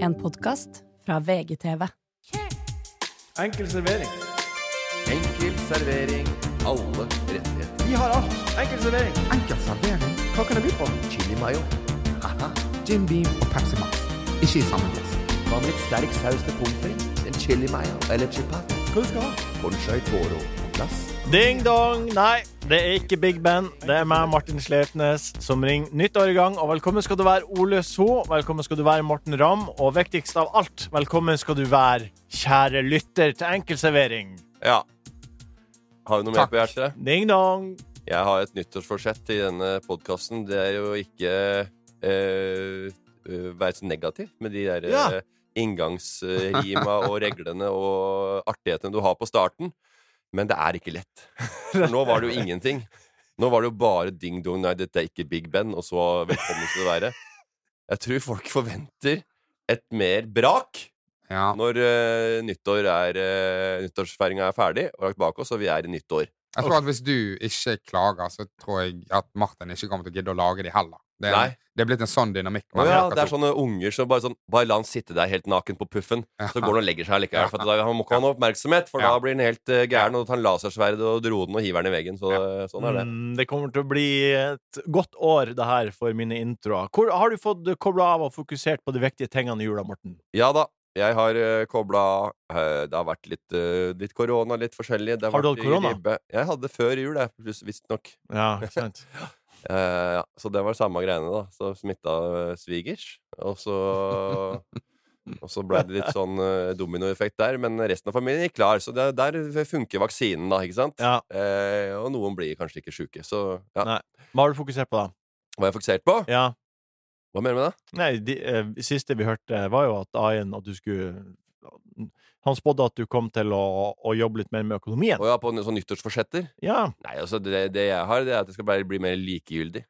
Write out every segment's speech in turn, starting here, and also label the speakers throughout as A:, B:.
A: En podkast fra VGTV.
B: Enkel servering.
C: Enkel servering. Alle rettigheter.
B: Vi har alt. Enkel servering.
D: Enkel servering,
B: Hva kan jeg by på?
C: Chili mayo. Haha.
D: Jim Beam og Pepsi Max. Ikke i samme glass.
C: Hva med litt sterk saus til pommes frites? En chili mayo eller chipat?
B: Hva du skal ha?
C: Conchai toro på plass.
E: Ding dong! Nei, det er ikke Big Ben. Det er meg, Martin Sleipnes, som ringer nytt år i gang. Og velkommen skal du være Ole So, velkommen skal du være Morten Ramm, og viktigst av alt, velkommen skal du være kjære lytter til Enkelservering.
F: Ja. Har du noe mer på hjertet?
E: Ding dong!
F: Jeg har et nyttårsforsett i denne podkasten. Det er jo ikke eh, eh, være så negativ med de der
E: Ja.
F: eh, inngangsrima og reglene og artighetene du har på starten. Men det er ikke lett. For nå var det jo ingenting. Nå var det jo bare ding dong, nei, dette er ikke Big Ben, og så velkommen skal det være. Jeg tror folk forventer et mer brak
D: Ja.
F: når uh, nyttår er, eh, nyttårsfeiringa er ferdig og lagt bak oss, og vi er i nyttår.
D: Jeg tror at Hvis du ikke klager, så tror jeg at Martin ikke kommer til å gidde å lage de heller. Det
F: Nei.
D: er, det er blitt en sånn dynamikk.
F: Å
D: mellom
F: ja,
D: dere
F: det er
D: to.
F: sånne unger som bare sånn Bare la han sitte der helt naken på puffen, så går han og legger seg likevel. For at da, han må ikke ha noe oppmerksomhet, for
D: Ja.
F: da blir han helt eh, gæren, og tar han lasersverdet og dronen og hiver den i veggen. Så eh, sånn er det.
E: Mm, det kommer til å bli et godt år, det her, for mine introer. Hvor, har du fått kobla av og fokusert på de viktige tingene i jula, Morten?
F: Ja da. Jeg har uh, kobla Det har vært litt, eh, litt korona, litt forskjellig. Det
E: Har du
F: vært
E: hatt korona?
F: ribbe. Jeg hadde det før jul, jeg, pluss- visstnok.
E: Ja, ikke sant?
F: Eh, ja, så det var samme greiene, da. Så smitta eh, svigers. Og så Og så ble det litt sånn eh, dominoeffekt der. Men resten av familien gikk klar, så det, der funker vaksinen, da. Ikke sant?
E: Ja.
F: Eh, og noen blir kanskje ikke sjuke. Så ja.
E: Nei. Hva har du fokusert på, da?
F: hva er jeg fokusert på?
E: Ja.
F: Hva mener du med det?
E: Nei, de, eh, siste vi hørte var jo at Ayen at du skulle Han spådde at du kom til å, å jobbe litt mer med økonomien.
F: Å ja, på en sånn nyttårsforsetter?
E: Ja.
F: Nei, altså, det, det jeg har, det er at jeg skal bare bli mer likegyldig.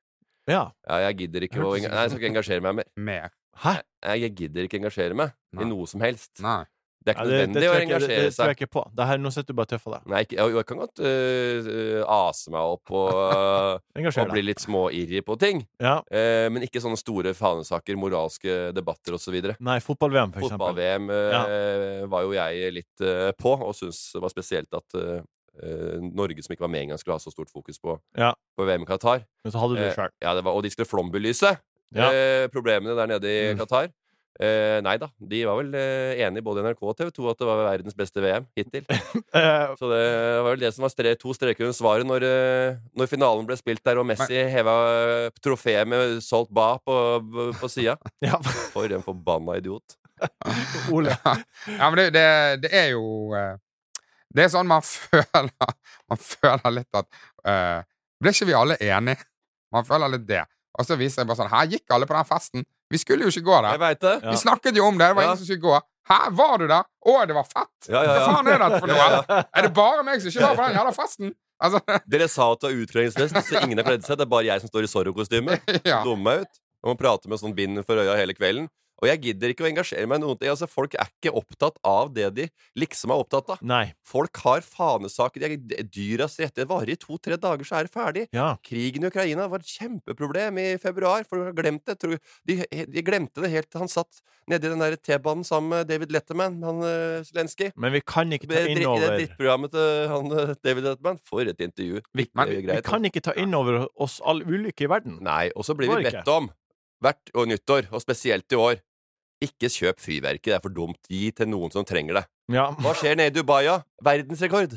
E: ja.
F: Ja, jeg gidder ikke å
E: Hørtes
F: enga-
E: ikke sånn
F: Nei, jeg skal ikke engasjere meg mer.
D: Mer.
E: Hæ?
F: Jeg jeg gidder ikke engasjere meg
D: Nei.
F: i noe som helst.
D: Nei.
F: Det er
E: Ja,
F: ikke
E: det, det,
F: nødvendig
E: tror
F: å
E: jeg ikke, det,
F: engasjere
E: det tror
F: seg.
E: jeg ikke på. Det her, nå sitter du bare og tøffer deg.
F: Nei, ikke, jo, jeg kan godt øh, øh, ase meg opp og, øh,
E: Engasjer
F: og
E: deg.
F: bli litt småirrig på ting.
E: Ja.
F: Eh, men ikke sånne store fanesaker, moralske debatter osv.
E: Nei, fotball-VM, for eksempel.
F: Fotball-VM eh, var jo jeg litt eh, på, og syntes det var spesielt at eh, eh, Norge, som ikke var med engang, skulle ha så stort fokus på,
E: Ja.
F: på VM i Qatar.
E: Men så hadde du det
F: Eh,
E: sjøl.
F: Ja, det var, og de skulle flombylyse
E: Ja.
F: eh, problemene der nede i
E: Mm.
F: Qatar. Eh, nei da, de var vel eh, enige både i NRK og TV 2 at det var verdens beste VM hittil.
E: Eh,
F: Så det var vel det som var stre to streker under svaret når, eh, når finalen ble spilt der, og Messi heva eh, trofeet med Salt Ba på, på sida.
E: ja,
F: For en forbanna idiot.
E: Ole.
D: Ja, men det, det, det er jo eh, Det er sånn man føler Man føler litt at eh, Ble ikke vi alle enige? Man føler litt det. Og så viser det bare sånn Her gikk alle på den festen. Vi skulle jo ikke gå
F: Jeg
D: der.
F: veit det.
E: Ja.
D: Vi snakket jo om det. Det var
F: Ja.
D: ingen som skulle gå. Hæ, var du der? Å, det var fett!
F: Ja, ja, ja.
D: Hva faen er dette for noe?
F: Ja, ja.
D: Er det bare meg som ikke var på den jævla festen? Altså,
F: Dere sa at det var utkledningsfest, så ingen har kledd seg. Det er bare jeg som står i Zorro-kostyme.
D: ja.
F: Dumme meg ut. Jeg må prate med sånn bind for øya hele kvelden. Og jeg gidder ikke å engasjere meg i noen ting. Altså, folk er ikke opptatt av det de liksom er opptatt av.
E: Nei.
F: Folk har fanesaker. De er- Dyras rettighet varer i to-tre dager, så er det ferdig.
E: Ja.
F: Krigen i Ukraina var et kjempeproblem i februar. Folk har glemt det. Tror, de, de glemte det helt til han satt nede i den der T-banen sammen med David Letterman, han uh, Zelenskyj.
E: Men vi kan ikke
F: I
E: ta
F: det
E: inn over
F: drittprogrammet til han eh, David Letterman. For et intervju.
E: Vi,
F: Men-
E: vi
F: greit,
E: kan ikke ta inn over oss all ulykke i verden.
F: Nei, og så blir
E: Var
F: vi
E: det ikke?
F: bedt om hvert og nyttår, og spesielt i år, ikke kjøp fyrverkeri, det er for dumt. Gi til noen som trenger det.
E: Ja.
F: Hva skjer nede i Dubai, da? Verdensrekord!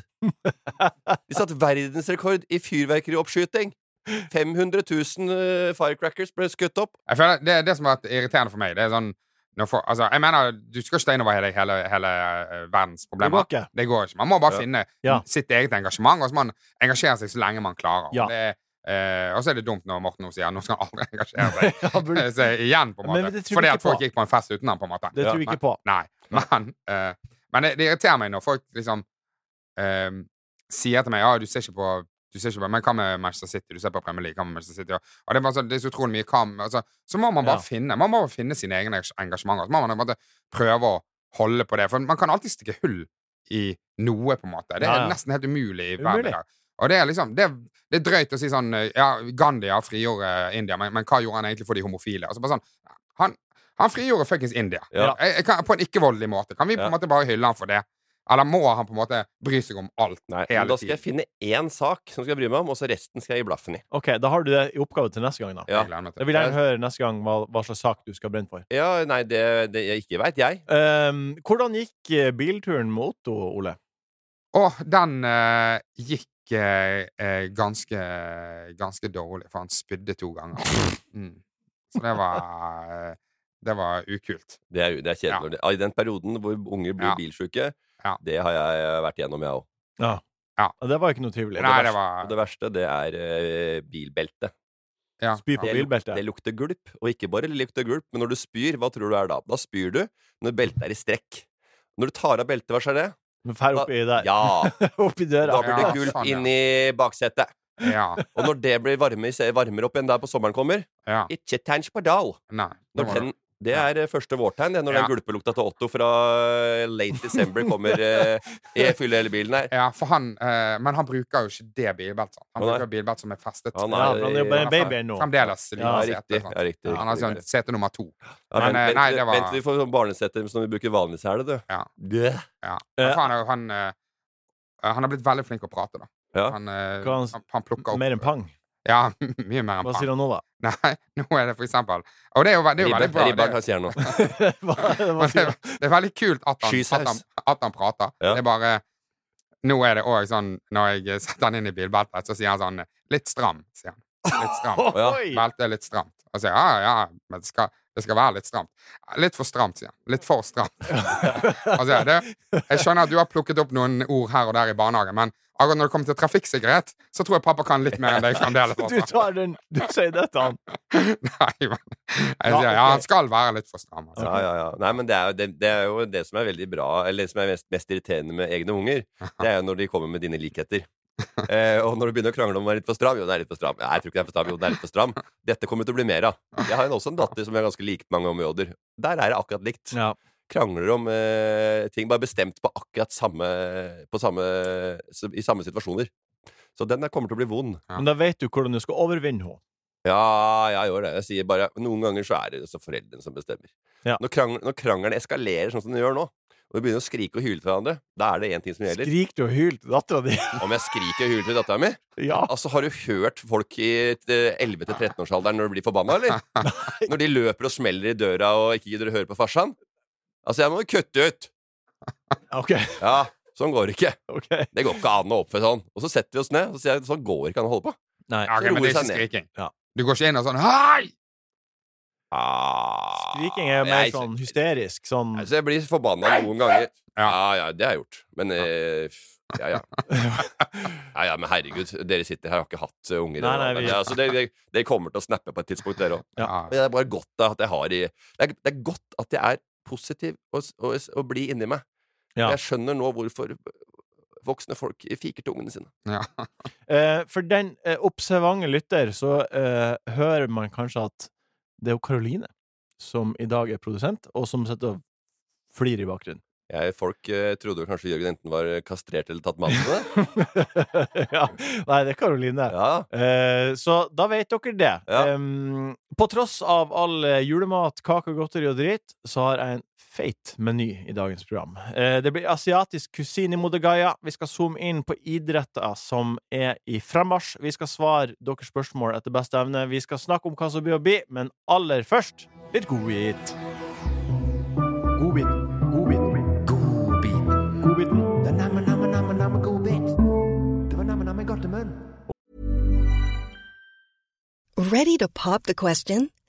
F: De satte verdensrekord i fyrverkerioppskyting. 500 000 eh, firecrackers ble skutt opp.
D: Jeg føler, det er det som har vært irriterende for meg. Det er sånn når folk- altså, jeg mener, Du skal ikke ta innover hele, hele, hele eh, verdens
E: Det
D: problemer.
E: går ikke.
D: Det går ikke. Man må bare
F: Ja.
D: finne
E: Ja.
D: sitt eget engasjement, og så må man engasjere seg så lenge man klarer.
E: Ja.
D: Det, eh, og så er det dumt når Morten nå sier nå skal han aldri engasjere seg. Eh,
E: Ja, burde-
D: Så igjen, på en
E: Men
D: måte.
E: det tror
D: Fordi
E: jeg
D: at
E: ikke
D: folk
E: på.
D: gikk på en fest uten han, på en måte.
E: Det tror vi ikke på.
D: Nei. Men, eh, men det, det irriterer meg når folk liksom eh, sier til meg Ja, du ser ikke på du ser ikke på, Men hva med Manchester City? Du ser på Premier League. Hva med Manchester City? Og, og det, er bare så, det er så utrolig mye kam. Altså, så må man bare
E: Ja.
D: finne Man må bare finne sine egne engasjementer. Så må man bare prøve å holde på det. For man kan alltid stikke hull i noe, på en måte. Det er
E: Ja, ja.
D: nesten helt umulig i
E: Umulig.
D: verden i dag. Og det er liksom det, er- det er drøyt å si eh, sånn Ja, Gandhi har frigjort eh, India, men, men hva gjorde han egentlig for de homofile? Altså bare sånn han, Han frigjorde fuckings India.
F: Ja.
D: Jeg, jeg kan, på en ikke-voldelig måte. Kan vi på en
F: Ja.
D: måte bare hylle han for det? Eller må han på en måte bry seg om alt
F: Nei, men
D: hele
F: da skal jeg
D: tiden?
F: finne én sak som skal jeg bry meg om, og så resten skal jeg gi blaffen i.
E: Ok, Da har du det i oppgave til neste gang. da
F: Ja.
D: Jeg gleder meg til
E: Jeg
D: det.
E: vil gjerne høre neste gang hva, hva slags sak du skal brenne for.
F: Ja, nei, det, det jeg ikke veit jeg.
E: Ehm, hvordan gikk eh, bilturen med Otto, Ole?
D: Og den eh, gikk eh, eh, ganske, ganske dårlig, for han spydde to ganger. Mm. Så det var eh, Det var ukult.
F: Det er, det er
D: Ja.
F: kjedelig. Ja. I den perioden hvor unger blir
D: Ja.
F: bilsjuke,
D: Ja.
F: det har jeg vært gjennom, jeg òg.
E: Ja, Det var ikke noe trivelig.
D: Nei, det
E: verste.
F: Og
D: var
F: det verste, det er eh, bilbelte.
D: ja.
E: Spy på
F: Det luk-
E: bilbeltet.
F: Det lukter gulp. Og ikke bare lukter gulp, men når du spyr, hva tror du er da? Da spyr du når beltet er i strekk. Når du tar av beltet, hva skjer det?
E: Men Fær oppi der.
F: Ja!
E: oppi
F: Da
E: døra.
F: blir det
D: Ja,
F: gulp
D: sånn, ja.
F: inn i baksetet.
D: Ja.
F: Og når det blir varme, se- varmere opp igjen der på sommeren kommer,
D: ja.
F: ikke tenk på dal.
D: Nei. det
F: Når
D: var-
F: den, det er eh, første vårtegn, det, når
D: Ja.
F: den gulpelukta til Otto fra eh, late December kommer eh, i fyller hele bilen her.
D: Ja, for han, eh, men han bruker jo ikke det bilbeltet. sant? Han
F: Å, nei.
D: bruker bilbelt som er festet.
F: Han
E: Ja,
F: er- eh,
E: for han er jo bare
D: Han
E: en
D: er
E: baby nå.
D: Fremdeles i
F: Ja,
D: lite
F: riktig.
D: sete. sant?
F: Ja, riktig,
D: Han har sånn
F: riktig.
D: sete nummer to.
F: Ja,
D: Men,
F: vent,
D: eh,
F: vent,
D: nei, det var-
F: vent til vi får sånn barnesete som vi bruker vanlig sele, du.
D: Ja.
F: Det.
D: Men
E: Eh,
D: faen, han, er jo- han, eh, han har blitt veldig flink å prate, da.
F: Ja.
D: Han, eh,
E: Hva han-
D: han, han plukker opp
E: Mer enn pang.
D: Ja, mye mer enn
E: Hva
D: pang.
E: sier han nå, da?
D: Nei, nå er det for eksempel Og det er jo, ve- det er jo veldig
F: Ribbe,
D: bra.
F: ribba
D: Det,
F: kan si her nå.
E: Hva, hva
D: men det,
E: sier
D: er-
E: han?
D: det er veldig kult at han, at han,
F: Skysaus.
D: at han prater.
F: Ja.
D: Det er bare Nå er det òg sånn Når jeg setter han inn i bilbeltet, så sier han sånn Litt stram, sier han. Litt stram.
F: Ja.
E: Oi!
D: Beltet er litt stramt. Og sier ja, ja, men det skal, det skal være litt stramt. Litt for stramt, sier han. Litt for stramt. altså, det, jeg skjønner at du har plukket opp noen ord her og der i barnehagen, men akkurat når det kommer til trafikksikkerhet, så tror jeg pappa kan litt mer enn deg fremdeles.
E: Du
D: altså.
E: tar den Du sier det til han.
D: Nei, men jeg
E: Ja,
D: sier ja,
E: ok.
D: han skal være litt for stram. Altså.
F: Ja, ja, ja. Nei, men det er, jo, det, det er jo det som er veldig bra, eller det som er mest, mest irriterende med egne unger, det er jo når de kommer med dine likheter. Eh, og når du begynner å krangle om å være litt for stram Jo, det er litt for stram. Nei, jeg tror ikke det er for stram. Jo, det er litt for stram. Dette kommer til å bli mer av. Jeg har jo også en datter som er ganske lik på mange områder. Der er det akkurat likt.
E: Ja.
F: Krangler om eh, ting bare bestemt på akkurat samme, på samme I samme situasjoner. Så den der kommer til å bli vond.
E: Men da vet du hvordan du skal overvinne henne.
F: Ja, jeg gjør det. Jeg sier bare Noen ganger så er det også foreldrene som bestemmer.
E: Ja.
F: Når, krangel, når krangelen eskalerer sånn som den gjør nå, og vi begynner å skrike og hyle til hverandre, da er det én ting som gjelder.
E: Skrik du og hyl til dattera di?
F: Om jeg skriker og hyler til dattera mi?
E: Ja.
F: Altså, har du hørt folk i eh, 11-13-årsalderen når de blir forbanna, eller? Når de løper og smeller i døra og ikke gidder å høre på farsan? Altså, jeg må jo kutte ut!
E: OK.
F: Ja, sånn går det ikke.
E: ok
F: Det går ikke an å oppføre sånn. Og så setter vi oss ned, og så sier jeg sånn går det ikke an å holde på.
E: Nei.
D: Ja,
F: så
D: ok, men det er
F: roer seg
D: ikke
F: ned.
D: skriking.
E: Ja.
D: Du går ikke inn og sånn Hei!
F: Ah,
E: Skriking er jo mer
F: jeg-
E: sånn hysterisk. Sånn
F: Altså, jeg blir forbanna noen ganger. Ja.
D: Ja.
F: ja, det har jeg gjort. Men eh, f- ja, ja. ja, ja. Men herregud, dere sitter her og har ikke hatt eh, unger.
E: Nei, nei,
F: Men,
E: vi-
F: eh, altså, det, det, det kommer til å snappe på et tidspunkt, dere òg.
E: Ja.
F: Men det er bare godt da, at jeg har i det er, det er godt at jeg er positiv og, s- og, s- og blid inni meg.
E: Ja.
F: Jeg skjønner nå hvorfor voksne folk fiker til ungene sine.
D: Ja.
E: Eh, for den eh, observante lytter, så eh, hører man kanskje at det er jo Karoline som i dag er produsent, og som sitter og flirer i bakgrunnen.
F: Jeg, folk eh, trodde jo kanskje Jørgen enten var kastrert eller tatt mannen til det.
E: ja. Nei, det er Karoline.
F: Ja.
E: Eh, så da vet dere det.
F: Ja.
E: Em, på tross av all eh, julemat, kake, og godteri og drit, så har jeg en feit meny i dagens program. Eh, det blir asiatisk kusin i Modigaya. Vi skal zoome inn på idretter som er i fremmarsj. Vi skal svare deres spørsmål etter beste evne. Vi skal snakke om hva som blir å bli, men aller først litt godbit. Godbit. Godbit. Godbiten.
G: Ready to pop the question?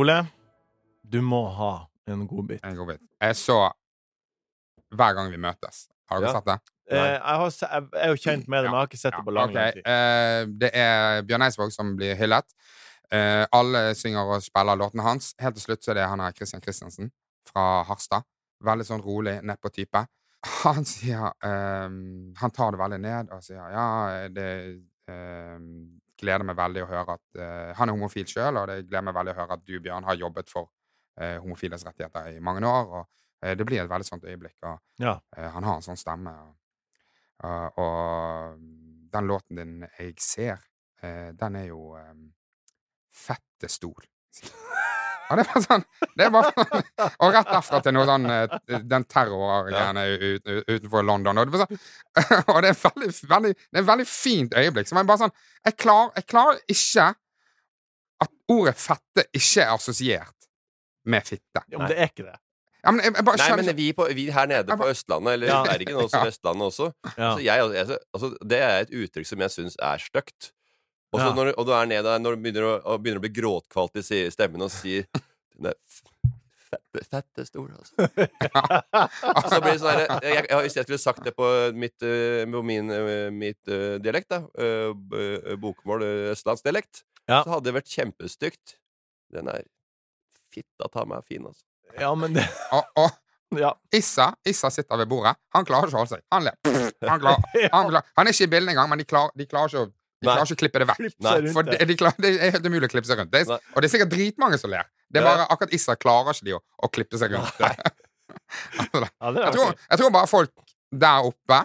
E: Ole, du må ha en godbit.
D: En god bit. Jeg så Hver gang vi møtes. Har dere
F: Ja.
D: sett det?
E: Eh, jeg, har, se- jeg er jo kjent med det, men jeg har ikke sett det på lang,
D: Ja,
E: lang
D: ok.
E: tid.
D: Eh, det er Bjørn Eidsvåg som blir hyllet. Eh, alle synger og spiller låtene hans. Helt til slutt så er det han her Christian Christensen fra Harstad. Veldig sånn rolig, nedpå-type. Han sier ehm, Han tar det veldig ned og sier ja, det ehm, gleder meg veldig å høre at eh, Han er homofil sjøl, og det gleder meg veldig å høre at du, Bjørn, har jobbet for eh, homofiles rettigheter i mange år. Og eh, det blir et veldig sånt øyeblikk. Og
E: Ja.
D: eh, han har en sånn stemme. Og, Eh, og, og den låten din 'Jeg ser', eh, den er jo eh, Fette stol. Ja, det var sånn, det var sånn Og rett derfra til noe sånn eh, den terrorgreiene ut, ut- utenfor London. Og det, var sånn, og det er veldig, veldig, det er et veldig fint øyeblikk. Så man bare sånn Jeg klarer, jeg klarer ikke at ordet fette ikke er assosiert med fitte.
E: Ja, men det er ikke det.
D: Ja, men jeg, jeg bare
F: Nei,
D: skjønner
F: men vi, på, vi her nede på Østlandet, eller
E: Ja.
F: Bergen, også
D: Ja.
F: Vestlandet også,
E: Ja.
F: Så jeg, jeg, altså, det er et uttrykk som jeg syns er stygt. Og så
E: Ja.
F: når, og du er nede der, når du begynner å, og begynner å bli gråtkvalt i si- stemmen og sier «Den er f- fette, fette stor, altså. og så blir det sånn her, jeg, jeg, Hvis jeg skulle sagt det på mitt, eh, på min, eh, mitt eh, dialekt, da, eh, b- eh, bokmål, eh, østlandsdialekt,
E: Ja.
F: så hadde det vært kjempestygt. Den er fitta ta meg fin, altså.
E: ja, men det
D: og, og
E: Ja.
D: Issa, Issa sitter ved bordet. Han klarer ikke å holde seg. Han ler. Han, klarer, han, klarer, han er ikke i bildet engang, men de klarer, de klarer, ikke, å, de
F: Nei.
D: klarer ikke å klippe det vekk.
E: Klipp
F: Nei,
E: seg rundt
D: For
E: det.
D: det, de klarer, det er helt umulig å klippe seg rundt. Det er,
F: Nei.
D: og det er sikkert dritmange som ler. Det er
F: Ja.
D: bare akkurat Issa klarer ikke de å, å klippe seg rundt.
F: Nei.
D: Altså, det-
E: Ja, det er
D: jeg, tror,
E: artig.
D: jeg tror bare folk der oppe,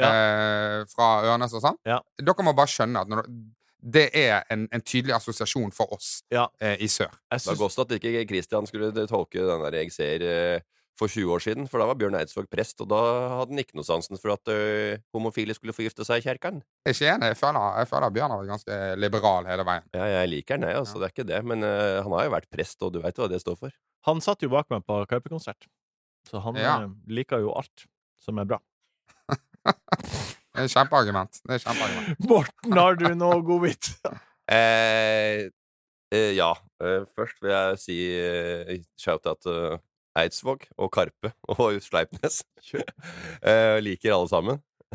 E: Ja.
D: eh, fra Ørnes og sånn,
E: Ja.
D: dere må bare skjønne at når, det er en, en tydelig assosiasjon for oss
E: Ja.
D: eh, i sør.
E: Jeg
F: Det var
E: syns
F: godt at ikke Kristian skulle tolke den der jeg ser eh, for 20 år siden, for da var Bjørn Eidsvåg prest, og da hadde han ikke noe sansen for at eh, homofile skulle få gifte seg i kirken.
D: Jeg er ikke enig. Jeg føler, jeg føler Bjørn har vært ganske liberal hele veien.
F: Ja, jeg liker han, jeg, altså, det er ikke det, men eh, han har jo vært prest, og du veit hva det står for.
E: Han satt jo bak meg på Karpe-konsert, så han
D: Ja.
E: eh, liker jo alt som er bra.
D: Det er et kjempeargument. Det er et kjempeargument.
E: Morten, har du noe godbit?
F: Eh, eh, ja. Eh, først vil jeg si eh, shout-out til Eidsvåg og Karpe og Sleipnes. eh, liker alle sammen. Eh,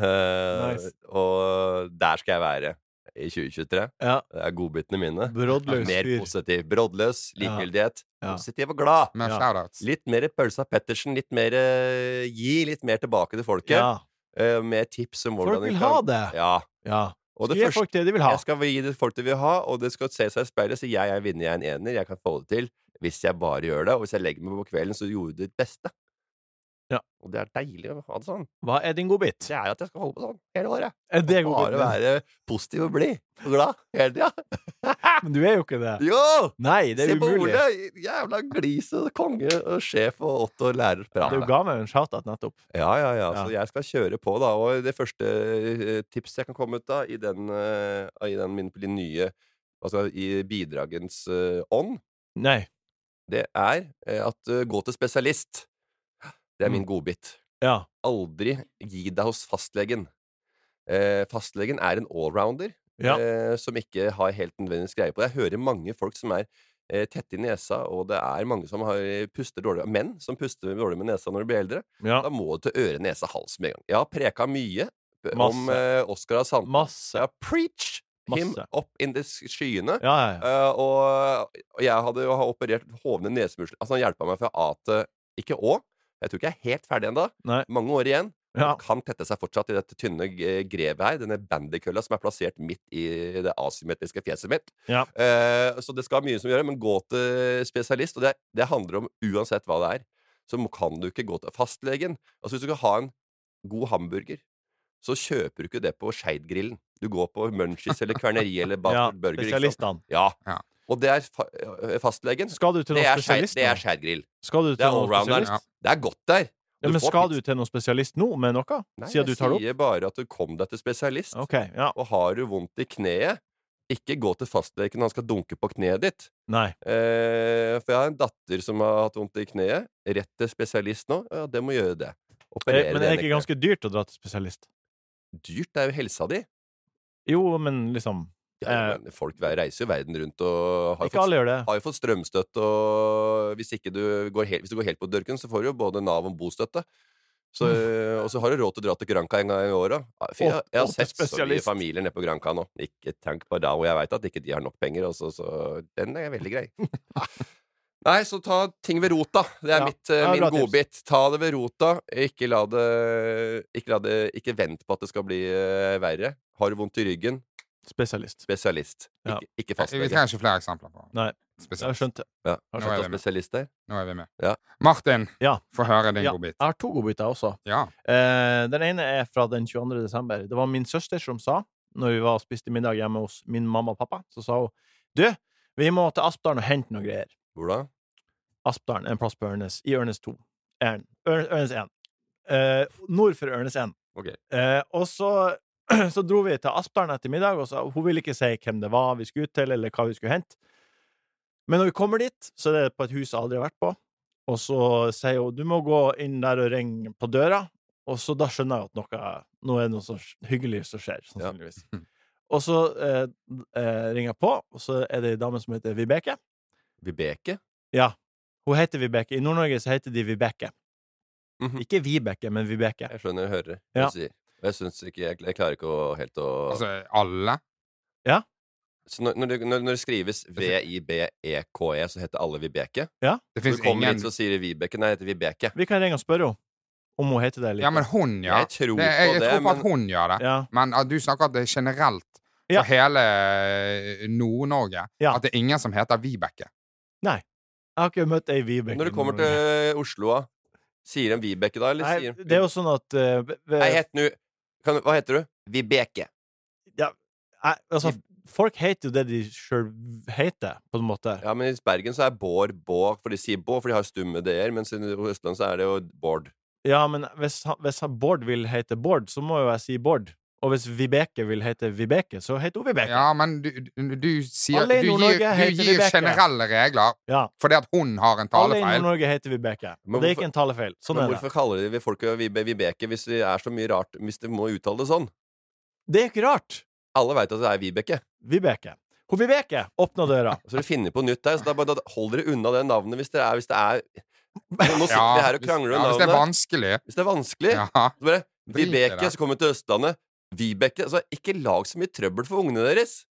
E: Nice.
F: Og der skal jeg være i 2023.
E: Ja.
F: Det er godbitene mine.
E: Brodløs
F: Mer
E: fyr.
F: positiv. Brodløs, likegyldighet,
E: Ja.
F: positiv og glad.
D: Men
E: Ja.
D: shoutouts.
F: Litt mer pølsa Pettersen, litt mer eh, gi, litt mer tilbake til folket.
E: Ja.
F: Eh, mer tips om hvordan
E: Folk vil
F: en
E: ha
F: kan-
E: det.
F: Ja.
E: Ja. Så
F: Og det
E: Gi
F: første
E: folk det de vil ha.
F: jeg skal gi det folk det vil ha, og det skal se seg i speilet, så jeg er en vinner, jeg er en ener, jeg kan få det til hvis jeg bare gjør det, og hvis jeg legger meg på kvelden, så gjorde du ditt beste.
E: Ja.
F: Og det er deilig å ha det sånn.
E: Hva er din godbit?
F: Det er at jeg skal holde på sånn hele året.
E: Er det
F: Bare
E: godbiten?
F: være positiv og blid og glad hele tida.
E: Men du er jo ikke det.
F: Jo!
E: Nei, det er
F: Se på
E: umulig.
F: Ole! Jævla glise konge og sjef og Otto lærer
E: Du
F: prater.
E: ga meg jo en shout-out nettopp.
F: Ja, ja, ja.
E: Ja.
F: Så jeg skal kjøre på, da. Og det første eh, tipset jeg kan komme ut av i den, eh, i den min de nye Altså i bidragens eh, ånd,
E: Nei.
F: det er eh, at eh, gå til spesialist. Det
E: Mm.
F: er min godbit.
E: Ja.
F: Aldri gi deg hos fastlegen. Eh, fastlegen er en allrounder
E: Ja.
F: eh, som ikke har helt nødvendigvis greie på det. Jeg hører mange folk som er eh, tette i nesa, og det er mange som har, eh, puster dårlig Menn som puster dårlig med nesa når de blir eldre.
E: ja.
F: Da må du til øre, nese, hals med en gang. Jeg har preka mye b-
E: Masse.
F: om eh, Oscar og Sandnes.
E: Masse.
F: Jeg har preach him
E: Masse.
F: up in the s- skyene.
E: Ja, ja, ja.
F: Eh, og, og jeg hadde jo har operert hovne nesemuskler. Altså, han hjelpa meg fra A til ikke Å. Jeg tror ikke jeg er helt ferdig ennå.
E: Nei.
F: Mange år igjen.
E: ja.
F: Kan tette seg fortsatt i dette tynne eh, grevet her. Denne bandykølla som er plassert midt i det asymmetriske fjeset mitt.
E: Ja.
F: Eh, så det skal mye som gjøre, men gå til spesialist. Og det, det handler om uansett hva det er, så må- kan du ikke gå til fastlegen. Altså Hvis du skal ha en god hamburger, så kjøper du ikke det på Skeidgrillen. Du går på Munchies eller Kverneri eller
E: ja.
F: Bastard Burger. ikke sant?
E: Spesialistene.
F: Ja.
D: Ja.
F: Og det er fa øh, fastlegen.
E: Skal du til
F: Det
E: noen
F: er, skjær,
E: spesialist
F: det
E: nå?
F: er skjærgrill.
E: Skal du
F: Det
E: til
F: er
E: noen
F: allrounderen.
E: spesialist?
F: Det er godt der.
E: Ja, men
F: får
E: skal du
F: pizza.
E: til noen spesialist nå med noe?
F: Nei,
E: Siden du tar det opp?
F: Jeg sier bare at du kom deg til spesialist.
E: OK. Ja.
F: Og har du vondt i kneet, ikke gå til fastlegen, han skal dunke på kneet ditt.
E: Nei.
F: Eh, for jeg har en datter som har hatt vondt i kneet. Rett til spesialist nå. Ja, det må gjøre det. Operere
E: Eh, Men det er
F: ene
E: ikke
F: kneet.
E: ganske dyrt å dra til spesialist?
F: Dyrt det er jo helsa di.
E: Jo, men liksom
F: Ja, men folk reiser jo verden rundt og har jo
E: Ikke
F: fått
E: alle gjør det.
F: har jo fått strømstøtte, og hvis, ikke du går helt, hvis du går helt på dørken, så får du jo både Nav og bostøtte. Så,
E: Mm.
F: øh, og så har du råd til å dra til Granca en gang i året. Jeg
E: Å,
F: jeg har
E: å,
F: sett så mye
E: spesialist.
F: familier nede på Granca nå. Ikke tenk på det, og jeg veit at ikke de har nok penger, også, så den er veldig grei. Nei, så ta ting ved rota. Det er
E: Ja,
F: mitt,
E: det
F: øh,
E: er
F: min
E: bra tips.
F: godbit. Ta det ved rota. Ikke la det Ikke, la det, ikke vent på at det skal bli øh, verre. Har du vondt i ryggen,
E: Spesialist.
F: spesialist.
E: Ja.
F: Ikke, ikke
D: Vi
F: fastlege.
D: trenger ikke flere eksempler på
E: Nei. Jeg har
D: spesielt.
E: skjønt det.
F: Ja.
E: Jeg har
D: Nå er
E: skjønt
F: Ta
D: vi med.
F: spesialist der.
D: Nå er vi med.
F: Ja.
D: Martin,
E: Ja.
D: få høre din
E: Ja.
D: godbit.
E: Jeg har to godbiter også.
D: Ja.
E: Eh, den ene er fra den 22. desember. Det var min søster som sa, når vi var og spiste middag hjemme hos min mamma og pappa, så sa hun Du, vi må til Aspdalen og hente noe greier.
F: Hvor da?
E: Aspdalen er en plass på Ørnes, i Ørnes 2. Ørn, Ørn, Ørnes 1. Eh, nord for Ørnes 1.
F: Ok.
E: Eh, og så, så dro vi til Aspdalen etter middag, og så, hun ville ikke si hvem det var vi skulle ut til, eller hva vi skulle hente. Men når vi kommer dit, så er det på et hus jeg aldri har vært på, og så sier hun du må gå inn der og ringe på døra, og så da skjønner jeg at noe, nå er det noe sånn hyggelig som skjer,
F: Ja.
E: sannsynligvis. Og så eh, eh, ringer jeg på, og så er det ei dame som heter Vibeke.
F: Vibeke?
E: Ja. Hun heter Vibeke. I Nord-Norge så heter de Vibeke.
F: Mhm.
E: Ikke Vibeke, men Vibeke.
F: Jeg skjønner, jeg hører det.
E: Ja.
F: Du sier. Og jeg syns ikke jeg, jeg klarer ikke å helt å
D: Altså alle?
F: Så når, når, det, når, når det skrives V-I-B-E-K-E, E så heter alle Vibeke?
D: Det
F: Når
D: fins
F: du kommer
D: ingen
F: dit, så sier de Vibeke. Nei, det heter Vibeke.
E: Vi kan ringe og spørre henne om hun heter det eller
D: Ja, men hun, ja.
F: Jeg tror
D: Det, jeg,
F: på
D: jeg
F: det,
D: tror på at
F: men
D: hun gjør det.
E: ja.
D: Men at du snakker at det er generelt for
E: Ja.
D: hele eh, Nord-Norge
E: Ja.
D: at det er ingen som heter Vibeke.
E: Jeg har ikke møtt ei Vibeke.
F: når du
E: i
F: kommer
E: Nord-Norge.
F: til Oslo, da, sier de Vibeke da, eller
E: Nei,
F: sier
E: det er jo sånn at eh, v- v-
F: Jeg heter nå kan, Hva heter du? Vibeke.
E: nei, altså, Folk heter jo det de sjøl heter, på en måte.
F: Ja, men i Bergen så er Bård Båg, for de sier Båg, for de har stumme d-er, mens i Østland så er det jo Bård.
E: Ja, men hvis, han- hvis han- Bård vil hete Bård, så må jo jeg si Bård. Og hvis Vibeke vil hete Vibeke, så heter hun Vibeke.
D: Ja, men du, du, du sier
E: Alle i
D: Du
E: Nord-Norge
D: gir,
E: heter
D: du gir
E: Vibeke.
D: generelle regler
E: Ja.
D: fordi at hun har en
E: Alle i
D: talefeil.
E: Nord-Norge heter Vibeke.
F: Men
E: Og det er
F: hvorfor-
E: ikke en talefeil. Sånn
F: Men
E: er det.
F: hvorfor kaller de folk jo Vibe- Vibeke hvis det er så mye rart, hvis de må uttale det sånn?
E: Det er ikke rart.
F: Alle veit at det er Vibeke.
E: Vibeke. Hun Vibeke åpna døra.
F: Så dere finner på nytt der, så da, bare- da hold dere unna det navnet hvis det er, hvis det er Nå nå sitter
D: Ja,
F: vi her og
D: hvis-
F: krangler om
D: ja, Hvis det er
F: navnet.
D: vanskelig.
F: Hvis det er vanskelig,
D: Ja.
F: så bare
D: Drit i det.
F: Vibeke, så kommer vi til Østlandet. Vibeke, altså Ikke lag så mye trøbbel for ungene deres.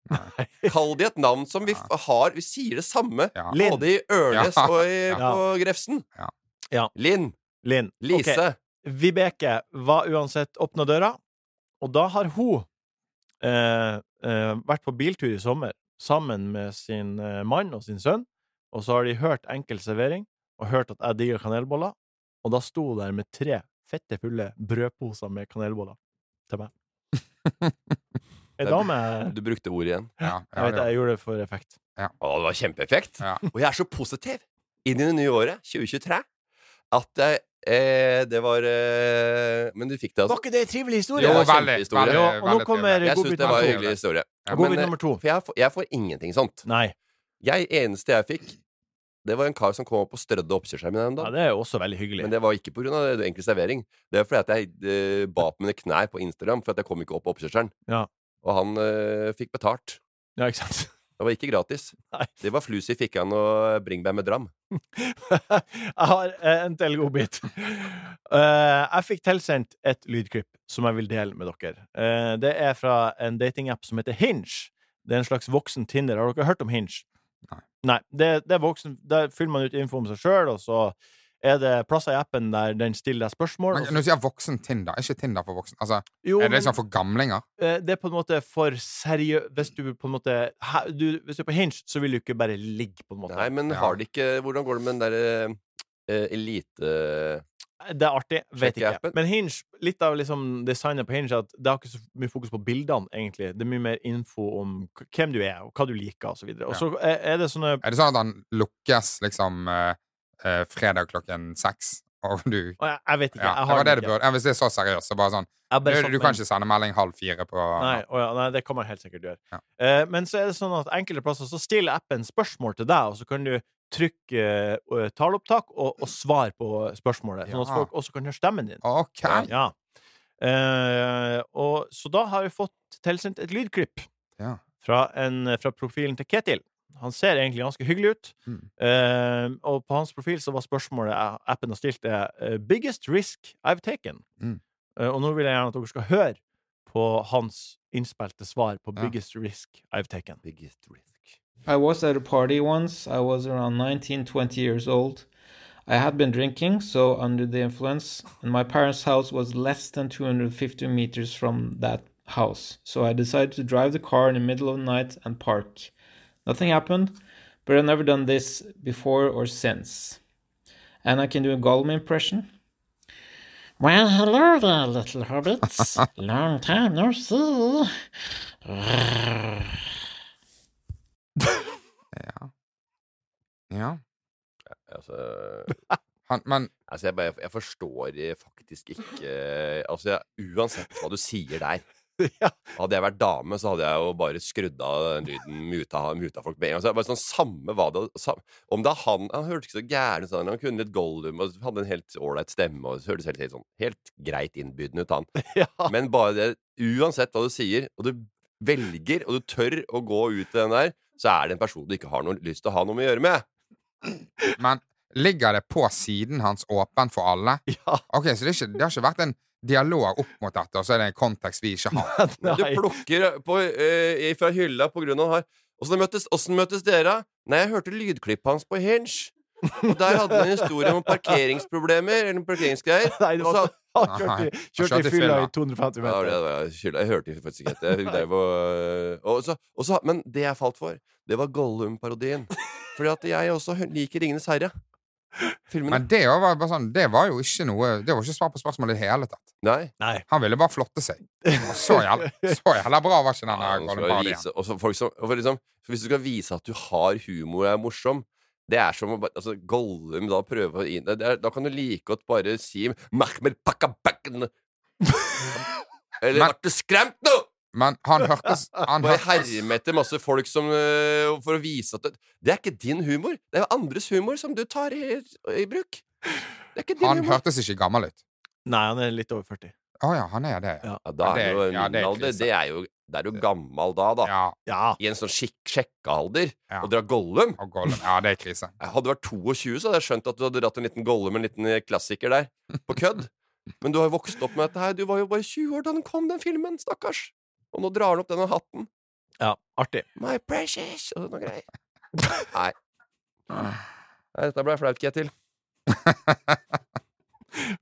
F: Kall de et navn som vi f- har Vi sier det samme
D: Ja.
F: både i Ørnes
D: Ja.
F: og i,
D: Ja.
F: på Grefsen.
D: Ja.
E: Ja.
F: Linn.
E: Linn.
F: Lise.
E: Ok, Vibeke var uansett åpna døra, og da har hun eh, eh, vært på biltur i sommer sammen med sin eh, mann og sin sønn, og så har de hørt enkel servering og hørt at jeg digger kanelboller, og da sto hun der med tre fette fulle brødposer med kanelboller til meg. Ei dame
F: Du brukte ordet igjen.
D: Ja, ja,
E: Jeg vet
D: ja.
E: jeg gjorde det for effekt.
F: Å, det var kjempeeffekt.
D: Ja.
F: Og jeg er så positiv inn i det nye året, 2023, at jeg, eh, det var eh, Men du fikk det, altså.
E: Var ikke det en trivelig historie?
D: Jo,
F: det var
D: veldig.
F: kjempehistorie.
D: veldig,
E: Ja, og nå
D: veldig
E: kommer-
D: trivelig.
F: Jeg syns det var en hyggelig historie.
D: Ja,
E: God
F: men,
E: bit
F: eh,
E: nummer to.
F: For jeg, får- jeg får ingenting sånt.
E: Nei.
F: Jeg, eneste jeg fikk, det var en kar som kom opp og strødde oppkjørselen min en
E: Ja,
F: dag.
E: det er jo også veldig hyggelig.
F: Men det var ikke pga. enkel servering. Det var fordi at jeg eh, ba på mine knær på Instagram, for at jeg kom ikke opp på oppkjørselen.
E: Ja.
F: Og han eh, fikk betalt.
E: Ja, ikke sant?
F: Det var ikke gratis.
E: Nei.
F: Det var flus i fikkan og bringebær med dram.
E: jeg har eh, en til godbit. Eh, jeg fikk tilsendt et lydklipp som jeg vil dele med dere. Eh, det er fra en datingapp som heter Hinge. Det er en slags voksen Tinder. Har dere hørt om Hinge?
D: Nei.
E: det, det er voksen, Der fyller man ut info om seg sjøl, og så er det plasser i appen der den stiller deg spørsmål.
D: Men
E: og så-
D: når du sier voksen Tinder, er ikke Tinder for voksen? Altså,
E: Jo,
D: er det
E: men-
D: sånn for gamlinger?
E: Eh, det er på en måte for seriø... Hvis du på en måte hæ- du, Hvis du er på Hinge, så vil du ikke bare ligge, på en måte.
F: Nei, men
D: Ja.
F: har de ikke Hvordan går det med den derre eh, elite... eh,
E: Det er artig. Vet
F: Sjekke appen.
E: ikke. Men Hinge, litt av liksom designet på Hinge er at det har ikke så mye fokus på bildene, egentlig. Det er mye mer info om k- hvem du er, og hva du liker, og så videre. Og så eh, er er det sånne
D: Er det sånn at han lukkes liksom eh, eh, fredag klokken seks, og du
E: Å, jeg, jeg vet ikke.
D: ja,
E: jeg
D: det
E: har
D: var
E: den
D: det det
E: ikke.
D: burde. Ja, hvis det er så seriøst, så bare sånn
E: Jeg bare
D: du,
E: satt
D: du
E: med
D: kan
E: den.
D: ikke sende melding halv fire på
E: Nei, å ja, nei, det kan man helt sikkert gjøre.
D: Ja.
E: Eh, men så er det sånn at enkelte plasser så stiller appen spørsmål til deg, og så kan du trykke eh, taleopptak og, og svar på spørsmålet, sånn at
D: Ja.
E: folk også kan høre stemmen din.
D: OK!
E: Ja. Eh, og, så da har vi fått tilsendt et lydklipp
D: Ja.
E: fra, en, fra profilen til Ketil, Han ser egentlig ganske hyggelig ut.
D: Mm.
E: Eh, og på hans profil så var spørsmålet jeg- appen har stilt, er eh, 'Biggest risk I've taken'.
D: Mm.
E: Eh, og nå vil jeg gjerne at dere skal høre på hans innspilte svar på
D: Ja.
E: 'Biggest risk I've taken'.
F: Biggest risk.
H: I was at a party once. I was around 19, 20 years old. I had been drinking, so under the influence, and my parents' house was less than 250 meters from that house. So I decided to drive the car in the middle of the night and park. Nothing happened, but I've never done this before or since. And I can do a Gollum impression. Well, hello there, little hobbits. Long time no see.
D: Ja. ja.
F: Altså,
D: Han, men
F: Altså, jeg, bare, jeg forstår eh, faktisk ikke eh, Altså, jeg, uansett hva du sier der
E: Ja.
F: Hadde jeg vært dame, så hadde jeg jo bare skrudd av den lyden muta, muta folk med en gang. Så det er bare sånn samme hva det sam, Om det er han Han hørtes ikke så gæren ut, sånn, han kunne litt Gollum og hadde en helt ålreit stemme og hørtes helt, helt sånn helt greit innbydende ut, han.
E: Ja.
F: Men bare det Uansett hva du sier, og du velger, og du tør å gå ut til den der, så er det en person du ikke har noe lyst til å ha noe med å gjøre med.
D: Men ligger det på siden hans åpen for alle?
E: Ja.
D: Ok, Så det, er ikke, det har ikke vært en dialog opp mot dette, og så er det en kontekst vi ikke har?
F: Men
E: Nei.
F: Du plukker på, eh, fra hylla på grunn av han har Åssen møttes, åssen møttes dere? Nei, jeg hørte lydklippet hans på Hinge. Og der hadde han en historie om parkeringsproblemer eller parkeringsgreier.
E: Nei, det
F: Og så-
E: var Han kjørte, i- kjørte i fylla i 250
F: Ja, det
E: meter.
F: var skylda. Jeg hørte jo faktisk ikke etter. Jeg drev og- eh, og så- og så- Men det jeg falt for, det var Gollum-parodien. Fordi at jeg også hø- liker Ringenes herre. Filmene.
D: Men det var, bare sånn, det var jo ikke noe Det var ikke svar på spørsmålet i det hele tatt.
F: Nei.
E: Nei.
D: Han ville bare flotte seg. Og Så jævla, så jævla bra var ikke den
F: Ja, nå
D: der
F: skal
D: Golden
F: jeg
D: Paradien.
F: vise, og så folk som, og for liksom, for hvis du skal vise at du har humor og er morsom det er som å bare- altså, Gollum da prøve å inn, det er, Da kan du like godt bare si Mahmed Pakkabakken Eller
D: Men-
F: ble du skremt nå?!
D: Men han hørtes han
F: Bare
D: hørtes,
F: herme etter masse folk som øh, For å vise at det, det er ikke din humor. Det er jo andres humor som du tar i, i bruk. Det er ikke din
D: han
F: humor.
D: hørtes ikke gammel ut.
E: Nei, han er litt over 40.
D: Å ja, han er det.
E: Ja.
F: Ja, da
D: Ja, det
F: er
D: er-
F: det jo
D: ja, det
F: min
D: er
F: alder.
D: krise.
F: Det er jo, det er jo gammal da, da.
D: Ja,
E: Ja.
F: I en sånn skikk- sjekkealder.
D: Ja.
F: Og dra Gollum
D: og Gollum. Ja, det er krise.
F: Jeg hadde vært 22, så hadde jeg skjønt at du hadde dratt en liten golle med en liten eh, klassiker der, på kødd. Men du har jo vokst opp med dette her. Du var jo bare 20 år da den kom, den filmen. Stakkars. Og nå drar han opp denne hatten.
E: ja. Artig.
F: My precious! Og noe greier. Nei. Nei, dette ble flaut, Ketil.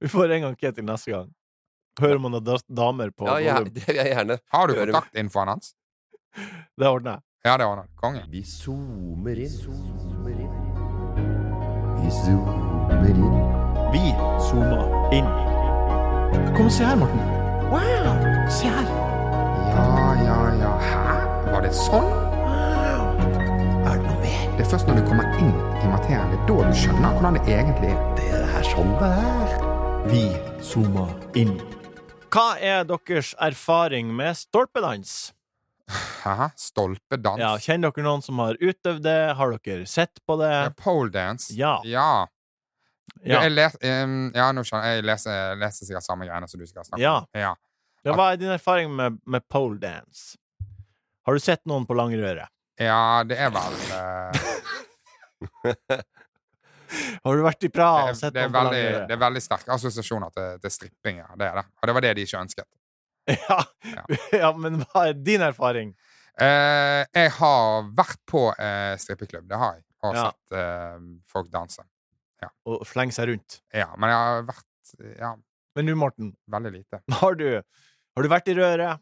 E: Vi får en gang Ketil neste gang. Hører man noen da- damer på
F: Ja, jeg,
E: Gollum?
F: det vil jeg gjerne.
D: Har du
F: Hører-
D: kontaktinfoen hans?
E: Det ordner jeg.
D: Ja, det har han. Konge.
C: Vi zoomer inn. Vi zoomer inn.
E: Vi zoomer inn. Kom og se her, Morten. Wow! Se her.
D: Ja, ja, ja. Hæ? Var det sånn?
C: Er det noe mer?
D: Det er først når du kommer inn i materien, det er da du skjønner hvordan det egentlig er.
C: Det er sånn det er.
E: Vi zoomer inn. Hva er deres erfaring med stolpedans?
D: Hæ? Stolpedans?
E: Ja, kjenner dere noen som har utøvd det? Har dere sett på
D: Ja,
E: det?
D: Pole dance?
E: Ja.
D: Ja, Du,
E: Ja.
D: Jeg les, em, ja nå skjønner jeg. Jeg leser, jeg leser sikkert samme greiene som du skal snakke
E: Ja.
D: om. Ja.
E: Ja, Hva er din erfaring med, med pole dance? Har du sett noen på langrøret?
D: ja, det er vel eh,
E: Har du vært i Praha og
D: det, er,
E: sett
D: det, er
E: noen på
D: veldig, det
E: langrøret?
D: er veldig sterke assosiasjoner til, til stripping. Ja. Det er det. Og det var det de ikke ønsket.
E: Ja. ja, men hva er din erfaring?
D: Eh, jeg har vært på eh, strippeklubb, det har jeg. Og
E: Ja.
D: sett eh, folk danse.
E: Å flenge seg rundt.
D: Ja, men jeg har vært ja,
E: Men du, Morten,
D: veldig lite.
E: har du, har du vært i røret?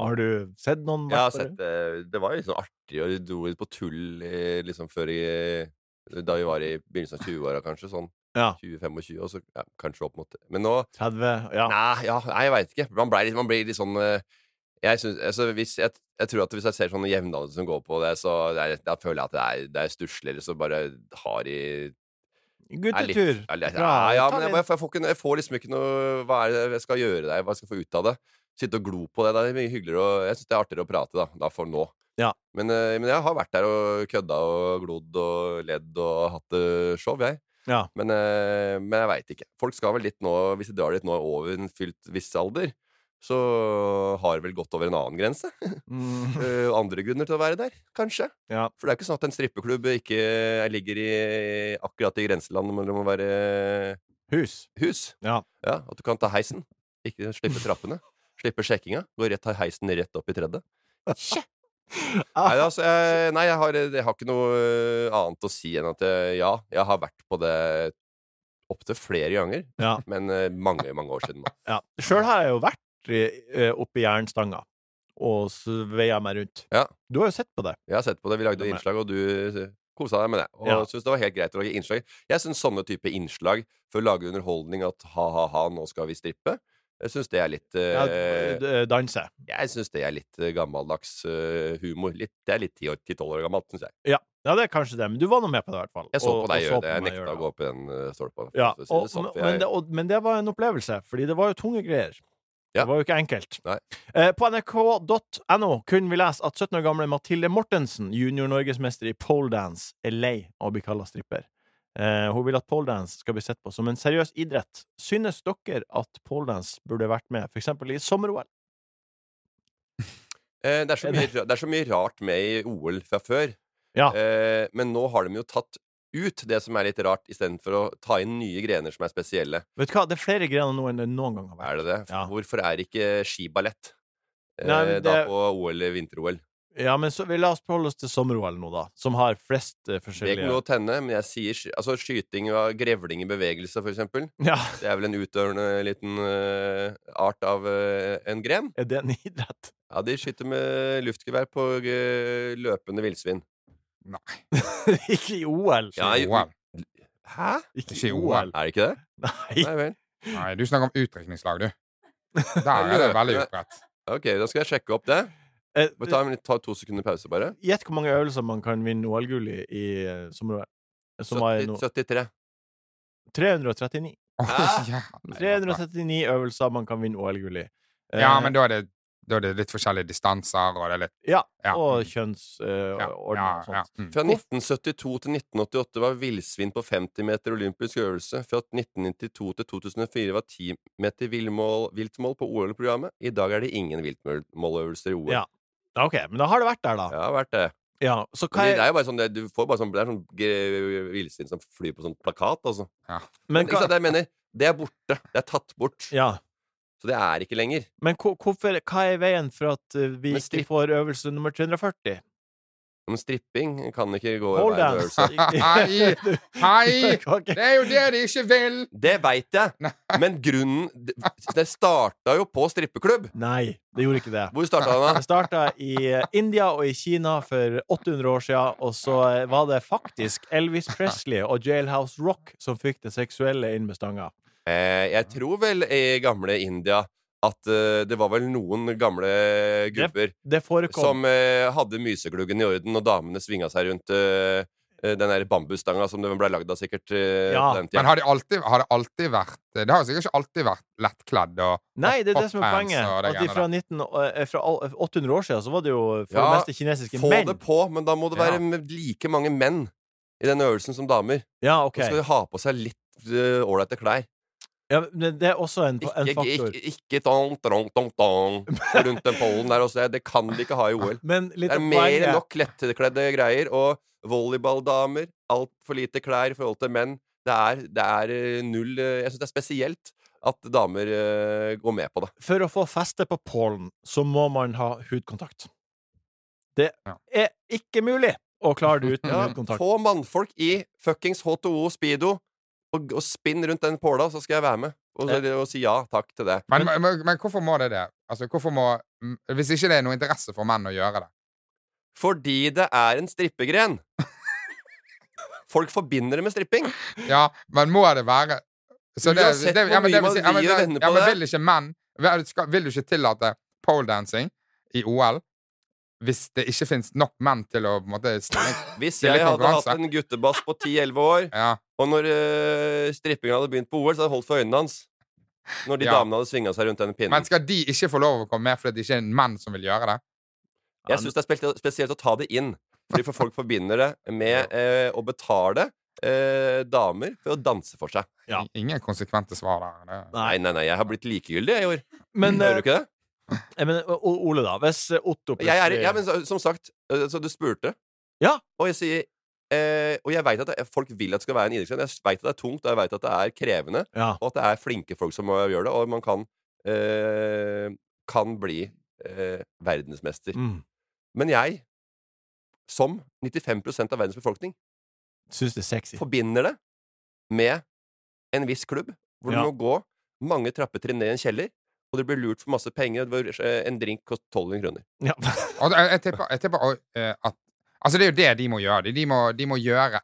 E: Har du sett noen?
F: Jeg har
E: vært på
F: sett det. Det var jo litt sånn artig, og vi dro litt på tull eh, liksom før i eh, Da vi var i begynnelsen av 20-åra, kanskje. Sånn
E: Ja.
F: 20-25, og så ja, kanskje opp mot Men nå
E: 30? Ja.
F: Nei, ja, nei, jeg veit ikke. Man blir litt, man blir litt sånn eh, jeg, synes, altså, hvis, jeg, jeg tror at hvis jeg ser sånne jevnaldrende som går på det, så det er, da føler jeg at det er, det er stusslig, eller så bare har de er litt-
E: Guttetur.
F: er litt-
E: Bra.
F: Ja, ja,
E: Ta
F: men jeg,
E: litt-
F: jeg, får ikke, jeg får liksom ikke noe Hva er det jeg skal gjøre der? Hva skal jeg få ut av det? Sitte og glo på det. Det er mye hyggeligere og Jeg syns det er artigere å prate, da. da for nå.
E: Ja.
F: Men, eh, men jeg har vært der og kødda og glodd og ledd og hatt eh, show, jeg.
E: Ja.
F: Men, eh, men jeg veit ikke. Folk skal vel litt nå, hvis de drar litt nå over en fylt viss alder, så har det vel gått over en annen grense.
E: Mm.
F: Eh, andre grunner til å være der, kanskje.
E: Ja.
F: For det er ikke sånn at en strippeklubb ikke eh, ligger i, akkurat i grenselandet mellom å være eh,
E: Hus.
F: hus.
E: Ja.
F: Ja, At du kan ta heisen. Ikke slippe trappene. slippe sjekkinga. Gå rett, ta heisen rett opp i tredje. Nei, altså, jeg, nei jeg, har, jeg har ikke noe eh, annet å si enn at jeg, ja, jeg har vært på det opptil flere ganger,
E: Ja.
F: men eh, mange, mange år siden. da.
E: Ja. Sjøl har jeg jo vært i- eh, oppe i jernstanga og sveia meg rundt.
F: Ja.
E: Du har jo sett på det.
F: Jeg har sett på det, vi lagde innslag, og du kosa deg med det. Og
E: Ja.
F: syntes det var helt greit å lage innslag. Jeg syns sånne type innslag for å lage underholdning at ha-ha-ha, nå skal vi strippe, jeg syns det er litt
E: Ja,
F: eh,
E: d- danse.
F: Jeg synes det er litt eh, gammeldags eh, humor. Litt, det er litt 10 år- 10-12 år gammelt, syns jeg.
E: Ja, det er kanskje det, men du var nå med på det, i hvert fall.
F: Jeg så
E: Og-
F: på
E: og så
F: deg gjøre det.
E: på
F: Jeg
E: meg
F: nekta
E: gjøre
F: å gå opp i den eh, stolpa.
E: Ja,
F: for å si det
E: og,
F: sånn, for
E: men,
F: jeg-
E: det, og, men det var en opplevelse, fordi det var jo tunge greier.
F: Ja.
E: Det var jo ikke enkelt.
F: Nei.
E: Eh, på nrk.no kunne vi lese at 17 år gamle Mathilde Mortensen, junior-norgesmester i poledance, er lei av å bli kalla stripper. Eh, hun vil at poledance skal bli sett på som en seriøs idrett. Synes dere at poledance burde vært med, f.eks. i sommer-OL?
F: Eh, det, er så
E: Er
F: mye, ra- det er så mye rart med i OL fra før.
E: Ja.
F: Eh, men nå har de jo tatt ut det som er litt rart, istedenfor å ta inn nye grener som er spesielle.
E: Vet du hva, det er flere grener nå enn det noen gang har vært.
F: Er det det?
E: Ja.
F: Hvorfor er det ikke skiballett eh,
E: Nei, men
F: da
E: det-
F: på OL, vinter-OL?
E: Ja, men så, vi la oss forholde oss til sommer-OL nå, da, som har flest eh,
F: Det
E: forskjellige
F: kan godt hende, men jeg sier sk- altså, skyting av grevling i bevegelse, for eksempel.
E: Ja,
F: Det er vel en utøvende liten eh, art av eh, en gren.
E: Er det en idrett?
F: Ja, de skyter med luftgevær på eh, løpende villsvin.
D: Nei.
E: ikke i OL.
F: Ja, i-
D: Wow.
F: Hæ?
E: Ikke
D: Ikke
E: i
D: i
E: OL.
F: Er det ikke det?
E: Nei.
F: Nei vel.
D: Nei, du snakker om utdrikningslag, du. Der er det veldig utbredt.
F: Ok, da skal jeg sjekke opp det.
E: Eh,
F: Må ta, en- ta to sekunder pause, bare.
E: Gjett hvor mange øvelser man kan vinne OL-gull i, i eh, sommer-OL. Som var i
F: 70,
E: no
F: 73.
E: 339.
D: Å,
F: Hæ?
D: jævlig.
E: 339 øvelser man kan vinne OL-gull i. Eh,
D: Ja, men da er, det, da er det litt forskjellige distanser, og det er litt
E: ja,
D: ja.
E: og kjønnsordning
D: ja,
E: og sånt.
D: ja, ja. Mm.
F: Fra 1972 til 1988 var villsvin på 50 meter olympisk øvelse. Fra 1992 til 2004 var 10 meter villmål, viltmål på OL-programmet. I dag er det ingen viltmåløvelser i OL.
E: Ja. Ja, Ok, men da har det vært der,
F: Det
E: da.
F: har vært det.
E: Ja, så hva
F: Men det
E: er,
F: er jo bare sånn, det, du får bare sånn, det er sånn g- villsvin som flyr på sånn plakat, altså. Men
E: men,
F: ikke
E: hva,
F: sant, jeg mener, det er borte. Det er tatt bort.
E: ja.
F: Så det er ikke lenger.
E: men hvor- hvorfor, hva er veien for at eh, vi
F: Men
E: ikke
F: stripp-
E: får øvelse nummer 340?
F: Men stripping kan ikke gå i
E: Hold
F: hver
E: dance.
F: øvelse.
D: Hei! Hei!
E: Ok.
D: Det er jo det de ikke vil!
F: Det veit jeg, men grunnen Det, det starta jo på strippeklubb.
E: Nei, det gjorde ikke det.
F: Hvor starta den?
E: Det starta i eh, India og i Kina for 800 år siden, og så eh, var det faktisk Elvis Presley og Jailhouse Rock som fikk det seksuelle inn med stanga.
F: da? Eh, jeg tror vel i gamle India at eh, det var vel noen gamle gubber
E: Det forekom.
F: som eh, hadde mysegluggen i orden, og damene svinga seg rundt eh, eh, den der bambusstanga som den ble lagd av, sikkert. Eh,
E: Ja,
F: på den
D: Men
F: tida.
D: har, de alltid, har det alltid vært Det har jo sikkert ikke alltid vært lettkledd og
E: Nei, det er det som er
D: hotpants
E: poenget.
D: og det
E: At de
D: greiene
E: fra, 19, eh, fra all- 800 år siden så var det jo for det
F: Ja,
E: meste kinesiske
F: Få
E: menn.
F: det på, men da må det være like mange menn i den øvelsen som damer.
E: Ja,
F: Da
E: ok.
F: skal de ha på seg litt eh, ålreite klær.
E: Ja, men det er også en,
F: Ikke,
E: en
F: ikke,
E: faktor.
F: ikke tong, tong, tong, tong, rundt den pollen der også. Det kan de ikke ha i OL.
E: Men litt
F: Det
E: av
F: er mer enn
E: poenget
F: nok lettkledde greier. Og volleyballdamer, altfor lite klær i forhold til menn. Det er, det er eh, null eh, Jeg syns det er spesielt at damer eh, går med på det.
E: For å få feste på pollen, så må man ha hudkontakt. Det
D: Ja.
E: er ikke mulig å klare det uten
F: Ja,
E: hudkontakt.
F: få mannfolk i fuckings H2O Speedo og, og spinn rundt den påla, så skal jeg være med. Og, så- og si ja takk til det.
D: men, men, men hvorfor må det det? Altså, hvorfor må mm, Hvis ikke det er noe interesse for menn å gjøre det.
F: Fordi det er en strippegren. Folk forbinder det med stripping.
D: Ja, men må det være Så det,
F: Uansett
D: det,
F: hvor
D: ja, men, det
F: mye
D: vil si, ja, men,
F: man vrir og vender
D: ja,
F: på
D: men
F: det.
D: vil ikke menn vil, skal, vil du ikke tillate poledancing i OL hvis det ikke finnes nok menn til å på en måte stille
F: Hvis
D: Det er
F: jeg
D: litt
F: hadde hatt
D: konkurranse.
F: en guttebass på 10-11 år,
D: Ja.
F: og når øh, strippingen hadde begynt på OL, så hadde jeg holdt for øynene hans. Når de
D: Ja.
F: damene hadde svinga seg rundt den pinnen.
D: Men skal de ikke få lov å komme med fordi det ikke er menn som vil gjøre det?
F: Jeg syns det er spelt- spesielt å ta det inn. Fordi for folk forbinder det med eh, å betale eh, damer til å danse for seg.
E: Ja.
D: Ingen konsekvente svar der. Det,
F: Nei, nei, nei, jeg har blitt likegyldig jeg i år.
E: Men, eh,
F: Hører du ikke det?
E: eh, men O- O- Ole, da. Hvis eh, Otto
F: Jeg er, ja, men så- som sagt, eh, så du spurte,
E: Ja.
F: og jeg sier eh, Og jeg veit at det, folk vil at det skal være en idrettsgren. Jeg veit at det er tungt, og jeg veit at det er krevende,
E: Ja.
F: og at det er flinke folk som må gjøre det, og man kan eh, kan bli eh, verdensmester.
E: Mm.
F: Men jeg, som 95 av verdens befolkning,
E: Syns det er sexy.
F: forbinder det med en viss klubb, hvor
E: Ja.
F: du må gå mange trappetrinn ned i en kjeller, og du blir lurt for masse penger, og det var- en drink koster 1200 kroner.
E: Ja.
D: og Altså, jeg, jeg tipper, jeg tipper og, eh, at Altså, det er jo det de må gjøre. De- De må, de må gjøre et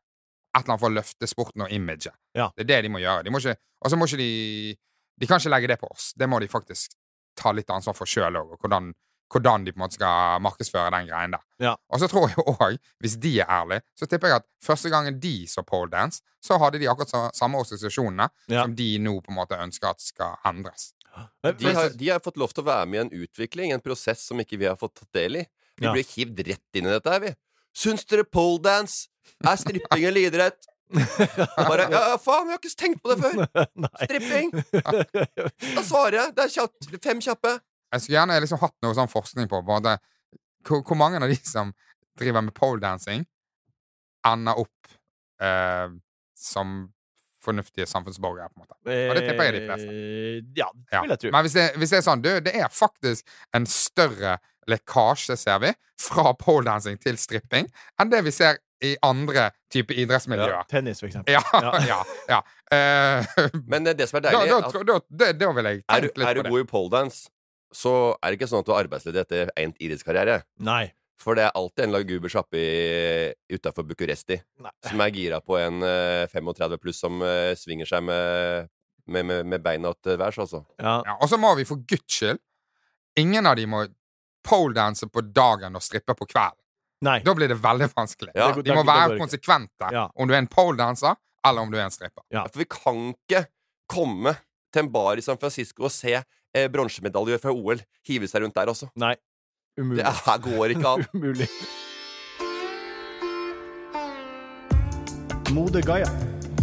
D: eller annet for å løfte sporten og imaget.
E: Ja.
D: Det er det de må gjøre. De må ikke, og så må ikke de De kan ikke legge det på oss. Det må de faktisk ta litt ansvar for sjøl òg, og hvordan, hvordan de på en måte skal markedsføre den greien der.
E: Ja.
D: Og så tror jeg òg, hvis de er ærlige, så tipper jeg at første gangen de så poledance, så hadde de akkurat så, samme assosiasjonene
E: Ja.
D: som de nå på en måte ønsker at skal endres.
E: Men-
F: De har, de har fått lov til å være med i en utvikling, en prosess som ikke vi har fått tatt del i. Vi
E: Ja.
F: ble hivd rett inn i dette her, vi. Syns dere poledance er stripping eller idrett? Bare, ja, ja, faen, jeg har ikke tenkt på det før!
E: Nei.
F: Stripping! Da svarer jeg. Det er kjapt. Fem kjappe.
D: Jeg skulle gjerne liksom hatt noe sånn forskning på både hvor, hvor mange av de som driver med poledancing, ender opp eh, som fornuftige samfunnsborgere, på en måte. Og det tipper jeg de fleste.
E: Eh, Ja, det
D: Ja.
E: vil jeg tro.
D: Men hvis det, hvis det er sånn, du, det er faktisk en større lekkasje, ser vi, fra poledancing til stripping, enn det vi ser i andre type idrettsmiljøer.
E: Tennis, for eksempel.
D: Ja, ja,
E: Ja.
D: ja. Eh,
F: Men eh, det som er
D: da,
F: deilig
D: da,
F: at
D: tror- da, da, da vil jeg
F: er, du-
D: tenke litt
F: er
D: på
F: du
D: det.
F: god i poledance, så er det ikke sånn at du har arbeidsledig etter endt idrettskarriere.
E: Nei.
F: For det er alltid en laguber sjappe utafor Bucuresti
E: Nei.
F: som er gira på en eh, 35 pluss som eh, svinger seg med, med, med, med beina til værs, altså.
E: Ja.
D: Ja, og så må vi for guds skyld Ingen av de må poledanse på dagen og strippe på kvelden.
E: Nei.
D: Da blir det veldig vanskelig.
F: Ja,
E: Det går-
D: De må
E: det går
D: være
E: ikke.
D: konsekvente
E: Ja.
D: om du er en poledanser eller om du er en stripper.
F: For vi kan ikke komme til en bar i San Francisco og se eh, bronsemedaljer fra OL hive seg rundt der også.
E: Nei. Umulig.
F: Det er, går ikke an.
E: Umulig.
B: Mode Gaia.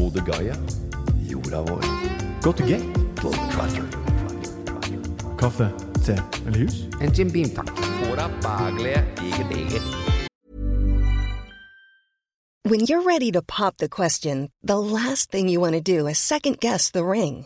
C: Mode Gaia, jorda vår.
B: Go to gate. Kaffe, te eller hus?
C: En Jim Beam, takk. Håra baglige, eget eget.
G: When you're ready to pop the question, the last thing you want to do is second guess the ring.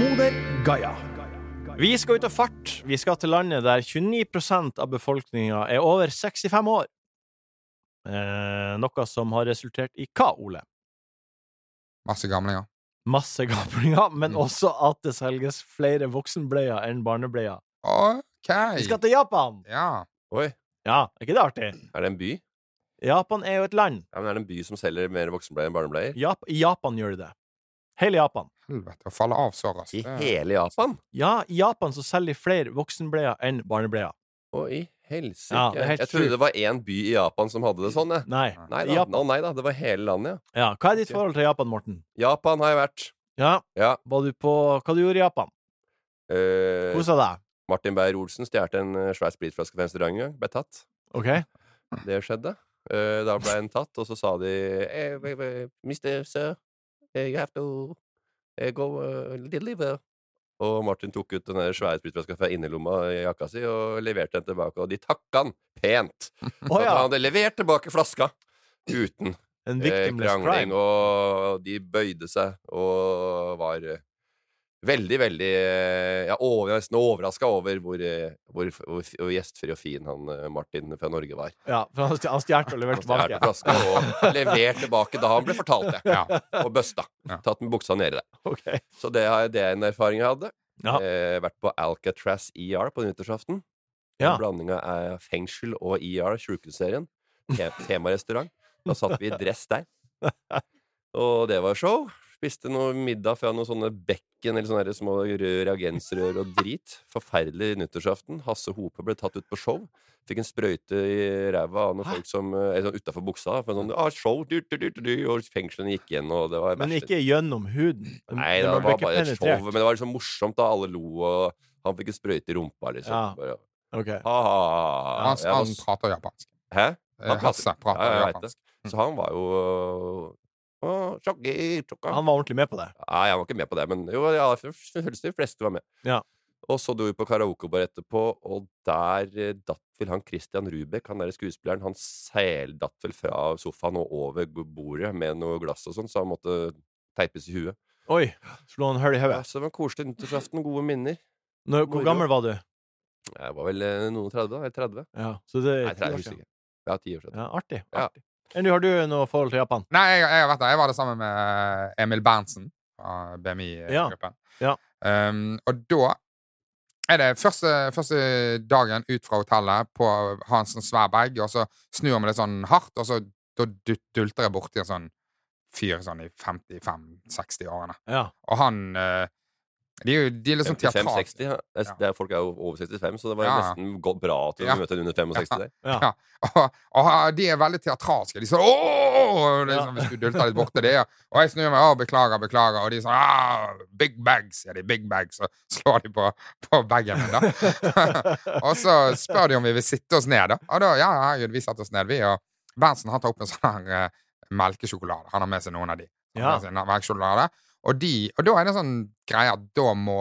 B: Moder Gaia.
E: Vi skal ut og fart. Vi skal til landet der 29 av befolkninga er over 65 år. Eh, noe som har resultert i hva, Ole?
D: Masse gamlinger.
E: Masse gaplinger, men
D: Mm.
E: også at det selges flere voksenbleier enn barnebleier.
D: OK.
E: Vi skal til Japan!
D: Ja.
F: Oi,
E: Ja, er ikke det artig?
F: er det en by?
E: Japan er jo et land.
F: Ja, men Er det en by som selger mer voksenbleier enn barnebleier?
E: Jap I Japan gjør de det. Hele Japan.
D: Helvete, å falle av så raskt.
F: I
D: Det-
F: hele Japan?
E: Ja, i Japan så selger de flere voksenbleier enn barnebleier.
F: Og i helsike!
E: Ja, det er helt
F: jeg trodde
E: sjukt.
F: det var én by i Japan som hadde det sånn, jeg.
E: Nei.
F: Nei
E: i
F: da,
E: Japan.
F: Å, nei da, det var hele landet, ja.
E: Ja, hva er ditt forhold til Japan, Morten?
F: Japan har jeg vært.
E: Ja,
F: Ja.
E: var du på Hva du gjorde i Japan?
F: Eh,
E: Kosa deg?
F: Martin Beyer-Olsen stjal en eh, svær spritflaske fra en restaurant en gang. Ble tatt.
E: OK?
F: Det skjedde. Eh, da ble en tatt, og så sa de eh, eh, eh, Mr. Sir, eh, you have to eh, go eh, deliver. Og Martin tok ut den der svære spritflaska fra innerlomma i jakka si og leverte den tilbake. Og de takka han pent
E: Å
F: for at
E: ja!
F: han hadde levert tilbake flaska uten
E: En
F: eh,
E: victimless
F: krangling.
E: crime.
F: Og de bøyde seg og var eh, Veldig, veldig eh, ja, over- Jeg er nesten overraska over hvor, eh, hvor, hvor, hvor gjestfri og fin han eh, Martin fra Norge var.
E: Ja, for han har stjålet og levert
F: Han stjal
E: tilbake.
F: flaska og levert tilbake da han ble fortalt det. Og busta. Tatt med buksa nedi der.
E: Ok.
F: Så det, har- det er en erfaring jeg hadde.
E: Ja.
F: Eh, vært på Alcatraz ER på nyttårsaften.
E: Ja.
F: En blanding av eh, fengsel og ER, sjukehusserien. Te temarestaurant. Da satt vi i dress der. Og det var show. Spiste noe middag fra noen sånne bekken eller sånne her små røde reagensrør og drit. Forferdelig nyttårsaften. Hasse Hope ble tatt ut på show. Fikk en sprøyte i ræva av noen folk som eh, Eller sånn utafor buksa. For sånn, ah, show, du, du, du, du, du, og fengslene gikk igjen, og det var det
E: Men
F: verste.
E: ikke gjennom huden. Den-
F: Nei,
E: den
F: det
E: ble
F: var
E: ikke
F: bare et show.
E: penetrert.
F: Men det var liksom morsomt, da. Alle lo, og han fikk en sprøyte i rumpa, liksom.
E: Ja.
F: Bare,
E: Ok.
F: ha, ha, ha, ha.
D: Han,
F: Jeg var
D: han
F: s-
D: prater japansk.
F: Ah, Hæ?
D: Eh, Hasse prater
F: ja, jeg vet
D: japansk. Mm.
F: det. Så han var jo Å, sjokker, sjokker.
E: Han var ordentlig med på det.
F: Nei, jeg var ikke med på det, men jo, ja, selvfølgelig de fleste var med.
E: Ja.
F: Og så dro vi på karaokebar etterpå, og der eh, datt vel han Christian Rubek, han der skuespilleren, han seldatt vel fra sofaen og over g- bordet med noe glass og sånn, så han måtte teipes i huet.
E: Oi! Slo han hull i
F: Ja,
E: hodet.
F: så det var en koselig nyttårsaften, gode minner.
E: Når- Hvor
F: Moro.
E: gammel var du?
F: Jeg var vel eh, noen og 30, da. eller 30?
E: Ja, så det
F: Nei, 30, husker jeg ikke. Ja, 10 år siden.
E: Ja, artig.
F: Ja.
E: artig. Enn du, har du noe forhold til Japan?
D: Nei, jeg, jeg har vært der. Jeg var der sammen med eh, Emil Berntsen fra
E: Ja.
D: BMI-gruppen.
E: Ja.
D: Um, eh, og da er det første, første dagen ut fra hotellet på Hansen sånn svær bag, og så snur jeg meg litt sånn hardt, og så da du- dulter jeg borti en sånn fyr sånn i 55-60-årene.
E: Ja.
D: Og han eh, De er jo de er litt sånn teatralske.
F: 55-60, ja. Det er- det er- Folk er jo over 65, så det var jo
D: Ja, ja.
F: nesten go- bra at vi
D: Ja.
F: møtte en under 65 der.
E: Ja.
D: Ja. Og, og de er veldig teatralske. De sier ååå
E: Ja.
D: sånn, hvis du dulter litt borti det. Og jeg snur meg og beklager, beklager, og de sier «Ah, big bag, sier de. Big bag. Så slår de på, på bagen min, da. og så spør de om vi vil sitte oss ned, da. Og da ja, herregud, vi setter oss ned, vi. Og Berntsen han tar opp en sånn her eh, melkesjokolade. Han har med seg noen av de. Han har
E: Ja.
D: med seg en melkesjokolade. Og, de, og da er det en sånn greie at da må,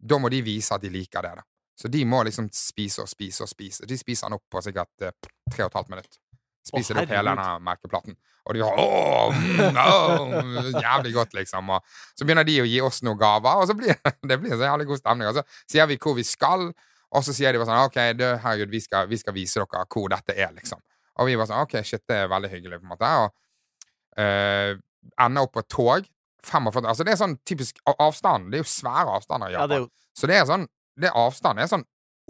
D: da må de vise at de liker det, da. Så de må liksom spise og spise og spise. De spiser den opp på sikkert eh, tre og et halvt minutt. Spiser de opp hele
E: herregud.
D: denne melkeplaten. Og de har åh, mm, åh, jævlig godt, liksom. Og så begynner de å gi oss noen gaver, og så blir det blir så jævlig god stemning. Og så sier vi hvor vi skal, og så sier de bare sånn OK, du, herregud, vi skal, vi skal vise dere hvor dette er, liksom. Og vi bare sånn OK, shit, det er veldig hyggelig, på en måte. Og eh, ender opp på et tog. 45, altså det er sånn typisk av- avstand. Det er jo svære avstander i
E: Ja,
D: Japan.
E: det er jo
D: Så det er sånn, det avstanden er sånn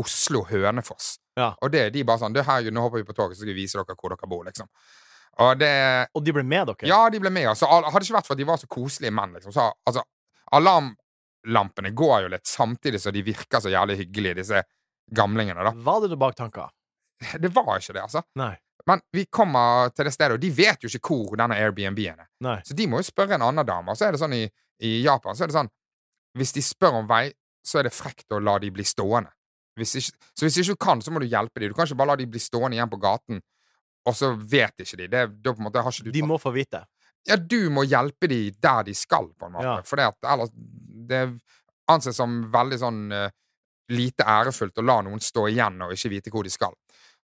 D: Oslo-Hønefoss.
E: Ja.
D: Og det, de bare sånn, du herregud, nå hopper vi på toget, så skal vi vise dere hvor dere bor, liksom. Og det,
E: Og de ble med dere?
D: ja, de ble med oss. Og Hadde det ikke vært for at de var så koselige menn, liksom, så altså, alarmlampene går jo litt samtidig som de virker så jævlig hyggelige, disse gamlingene, da.
E: Var det noen baktanker? Mm.
D: Det var ikke det, altså.
E: Nei.
D: Men vi kommer til det stedet, og de vet jo ikke hvor denne Airbnb-en er.
E: Nei.
D: Så de må jo spørre en annen dame. Og så er det sånn i, i Japan så er det sånn Hvis de spør om vei, så er det frekt å la de bli stående. Hvis ikke, så hvis ikke du kan, så må du hjelpe dem. Du kan ikke bare la de bli stående igjen på gaten, og så vet ikke de. Det, da på en måte har ikke du
E: De
D: tatt-
E: må få vite.
D: Ja, du må hjelpe dem der de skal, på en måte.
E: Ja.
D: For ellers Det anses som veldig sånn eh, lite ærefullt å la noen stå igjen og ikke vite hvor de skal.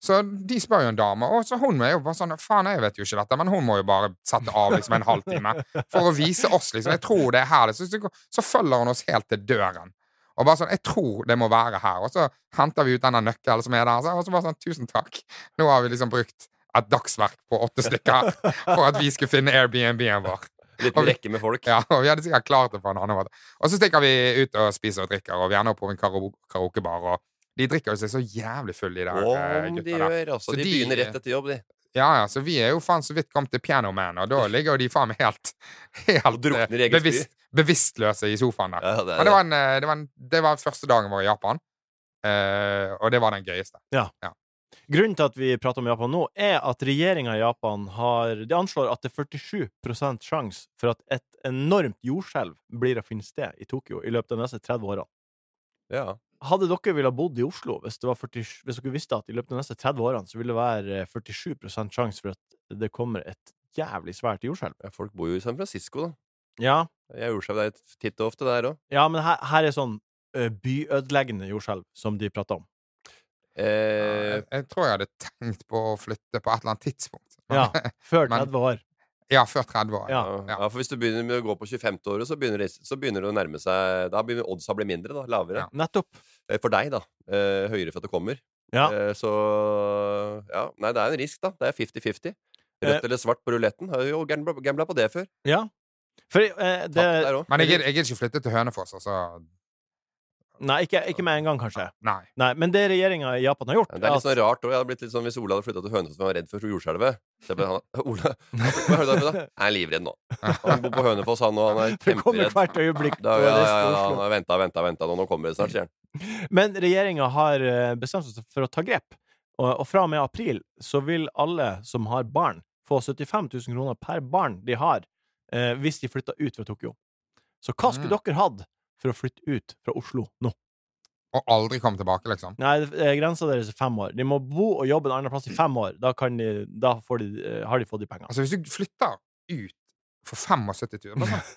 D: Så de spør jo en dame, og så hun er jo bare sånn Faen, jeg vet jo ikke dette, men hun må jo bare sette av liksom en halvtime for å vise oss, liksom. Jeg tror det er her. Så, så, så følger hun oss helt til døren. Og bare sånn, Jeg tror det må være her. Og så henter vi ut denne nøkkelen som er der. så- Og så bare sånn, tusen takk. Nå har vi liksom brukt et dagsverk på åtte stykker for at vi skulle finne Airbnb-en vår.
F: Liten rekke med folk.
D: Ja, og vi hadde sikkert klart det på en annen måte. Og så stikker vi ut og spiser og drikker, og vi ender opp på en karo karaokebar, og de drikker jo seg så jævlig fulle, de der eh,
F: Om de
D: gutta der.
F: gjør, altså.
D: Så
F: De
D: de-
F: begynner rett etter jobb, de.
D: Ja, ja, så vi er jo faen så vidt kommet til Piano Man, og da ligger jo de faen meg helt,
F: Og
D: helt
F: drukner i
D: eh,
F: egen spy.
D: bevisst, bevisstløse i sofaen der.
F: Ja, det er
D: Men det
F: det.
D: var, en, eh, det, var en, det var første dagen vår i Japan, eh, og det var den gøyeste.
E: Grunnen til at vi prater om Japan nå, er at regjeringa i Japan har De anslår at det er 47 sjanse for at et enormt jordskjelv blir å finne sted i Tokyo i løpet av de neste 30 årene.
F: Ja.
E: Hadde dere ville ha bodd i Oslo hvis, det var 40, hvis dere visste at i løpet av de neste 30 årene så ville det være eh, 47 sjanse for at det kommer et jævlig svært jordskjelv?
F: Ja, Folk bor jo i San Francisco, da.
E: Ja,
F: Jeg gjorde seg der titt og ofte der òg.
E: ja men her, her er sånn eh, byødeleggende jordskjelv som de prater om.
F: Eh,
E: Eh,
D: Jeg, jeg tror jeg hadde tenkt på å flytte på et eller annet tidspunkt.
E: Ja, Før
D: Men-
E: 30 år.
D: Ja, før 30 år.
E: Ja.
D: Ja.
F: Ja, for hvis du begynner med å gå på 25-året, så, begynner det- så begynner det å nærme seg Da begynner oddsa å bli mindre, da. Lavere.
E: Nettopp.
F: Eh, For deg, da. Eh, høyere for at det kommer.
E: Ja.
F: Eh, så Ja. Nei, det er en risk, da. Det er 50-50. Rødt eller svart på ruletten. Har jo gambla gambla på det før.
E: ja. For eh, det
F: Tapt der òg.
D: Men jeg gidder jeg gidder ikke flytte til Hønefoss, altså.
E: Nei, ikke, ikke med en gang, kanskje.
D: Nei.
E: Nei, Men det regjeringa i Japan har gjort altså,
F: Det er litt
E: at-
F: sånn rart òg. Jeg hadde blitt litt sånn hvis Ola hadde flytta til Hønefoss og var redd for jordskjelvet. Så jeg bare, han- Ola, hva er det du er redd for da? Jeg er livredd nå. Han bor på Hønefoss, han og han er
E: Det kommer
F: kjemperedd.
E: hvert øyeblikk.
F: Da,
E: på
F: ja, ja,
E: resten av
F: ja,
E: Oslo.
F: han har venta, venta, venta, nå kommer det snart, sier han.
E: Men regjeringa har eh, bestemt seg for å ta grep, og, og fra og med april så vil alle som har barn, få 75 000 kroner per barn de har, eh, hvis de flytter ut fra Tokyo. Så hva skulle
D: Mm.
E: dere hatt for å flytte ut fra Oslo nå?
D: Og aldri komme tilbake, liksom.
E: Nei, det- eh, grensa deres er fem år. De må bo og jobbe en annen plass i fem år. Da, kan de, da får de, eh, har de fått de pengene.
D: Altså, hvis du flytter ut for 75 000 bare sånn,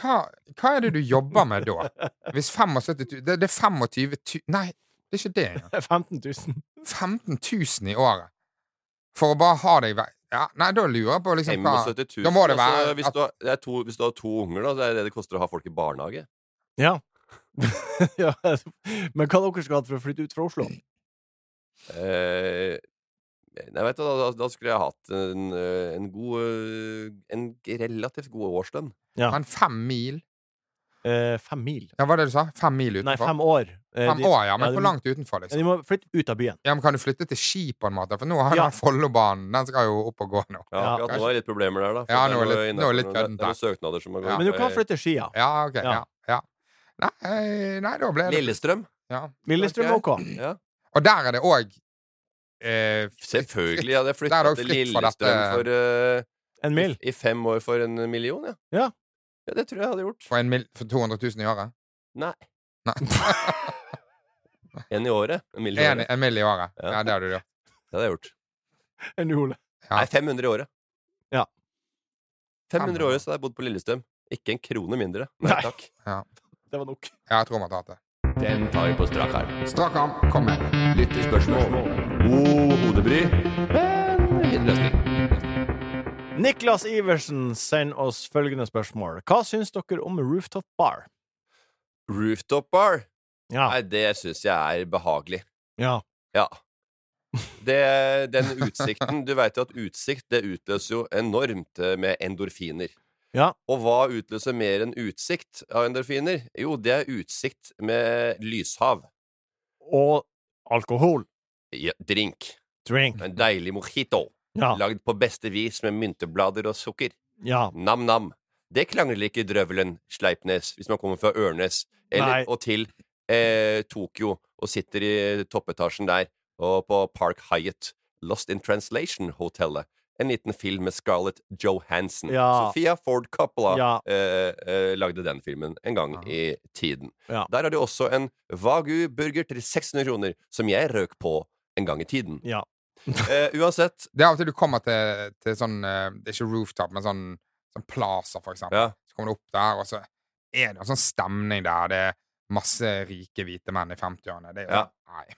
D: hva, hva er det du jobber med da? Hvis 75 000 Det, det er 25 000 Nei, det er ikke det engang.
E: 15 000.
D: 15 000 i året for å bare ha deg vei. Ja, nei, da lurer jeg på liksom hva
F: 75 000.
D: Da må det være
F: altså, hvis,
D: at-
F: du har, det er to, hvis du har to unger, da, det er det det koster å ha folk i barnehage.
E: Ja. ja. altså, Men hva dere skulle hatt for å flytte ut fra Oslo?
F: Eh, nei, vet du, da, da, da skulle jeg hatt en, eh, en god eh, En relativt god årslønn.
E: Ja.
D: Men fem mil?
E: Eh, fem mil.
D: Ja, hva er det du sa? Fem mil
E: Nei,
D: utenfor?
E: fem år. Eh,
D: Fem
E: de-
D: år, ja. Men
E: de
D: hvor
E: må-
D: langt
E: Ja,
D: utenfor, liksom?
E: de må flytte ut av byen.
D: Ja, men Kan du flytte til ski, på en måte? For nå har
E: Ja.
D: den Follobanen Den skal jo opp og gå nå.
F: Ja,
E: Ja,
F: akkurat nå er det litt problemer der, da. for
D: Ja,
F: det
D: nå er
F: noe
D: litt- nå er
F: innenfor
D: litt
F: noe- det
D: kødden
F: det er noen søknader som Eh, må gå
D: Ja.
E: Men du kan flytte til Skia.
D: Ja, ok. Ja.
E: Ja.
D: ja, Nei, eh, nei, da ble det
F: Lillestrøm?
D: ja.
E: Lillestrøm OK.
F: Ja.
D: Og der er det òg eh,
F: Selvfølgelig. Jeg hadde
D: Der er det
F: flytta
D: jo
F: til
D: fritt for
F: Lillestrøm
D: dette-
F: for, eh,
E: En mil.
F: i, i fem år for en million, ja.
E: Ja.
F: Ja, det tror jeg jeg hadde gjort.
D: For, en mil, for 200 000 i året?
F: Nei.
D: Nei.
F: En i året. En million. i
D: en,
F: året.
D: en mil i året.
F: Ja.
D: Ja, det hadde du gjort.
F: Det hadde jeg gjort.
E: En jule.
D: Ja.
F: Nei, 500 i året.
E: Ja.
F: 500 i året, så hadde jeg bodd på Lillestrøm. Ikke en krone mindre. Nei,
E: Nei.
F: takk.
E: Det var nok.
D: Ja, jeg tror vi har tatt det.
F: Den tar vi på strak arm.
D: Strak arm, kom med.
F: Lyttespørsmål. God hodebry. Men ingen løsning.
E: Niklas Iversen sender oss følgende spørsmål. Hva syns dere om rooftop bar?
F: Rooftop bar?
E: Ja.
F: Nei, det syns jeg er behagelig.
E: ja.
F: Ja. Det, den utsikten Du veit jo at utsikt det utløser jo enormt eh, med endorfiner.
E: Ja.
F: Og hva utløser mer enn utsikt av endorfiner? Jo, det er utsikt med lyshav.
E: Og alkohol.
F: Ja, drink.
E: Drink.
F: En deilig mojito.
E: Ja.
F: Lagd på beste vis med mynteblader og sukker.
E: ja.
F: Nam-nam. Det krangler ikke Drøvelen Sleipnes hvis man kommer fra Ørnes eller,
E: Nei.
F: og til eh, Tokyo og sitter i toppetasjen der og på Park Hyatt, Lost in Translation-hotellet. En liten film med Scarlett Johansen.
E: Ja.
F: Sofia Ford Coppola
E: Ja.
F: eh, eh, lagde den filmen en gang i tiden.
E: Ja.
F: Der har de også en Wagyu-burger til 600 kroner, som jeg røk på en gang i tiden.
E: Ja.
F: eh, uansett
D: Det er av og til du kommer til, til sånn eh, Det er ikke rooftop, men sånn, sånn plaza, for eksempel.
F: ja.
D: Så kommer du opp der, og så er det en sånn stemning der. Det er masse rike hvite menn i 50-årene. Det er jo
F: Ja.
D: Nei.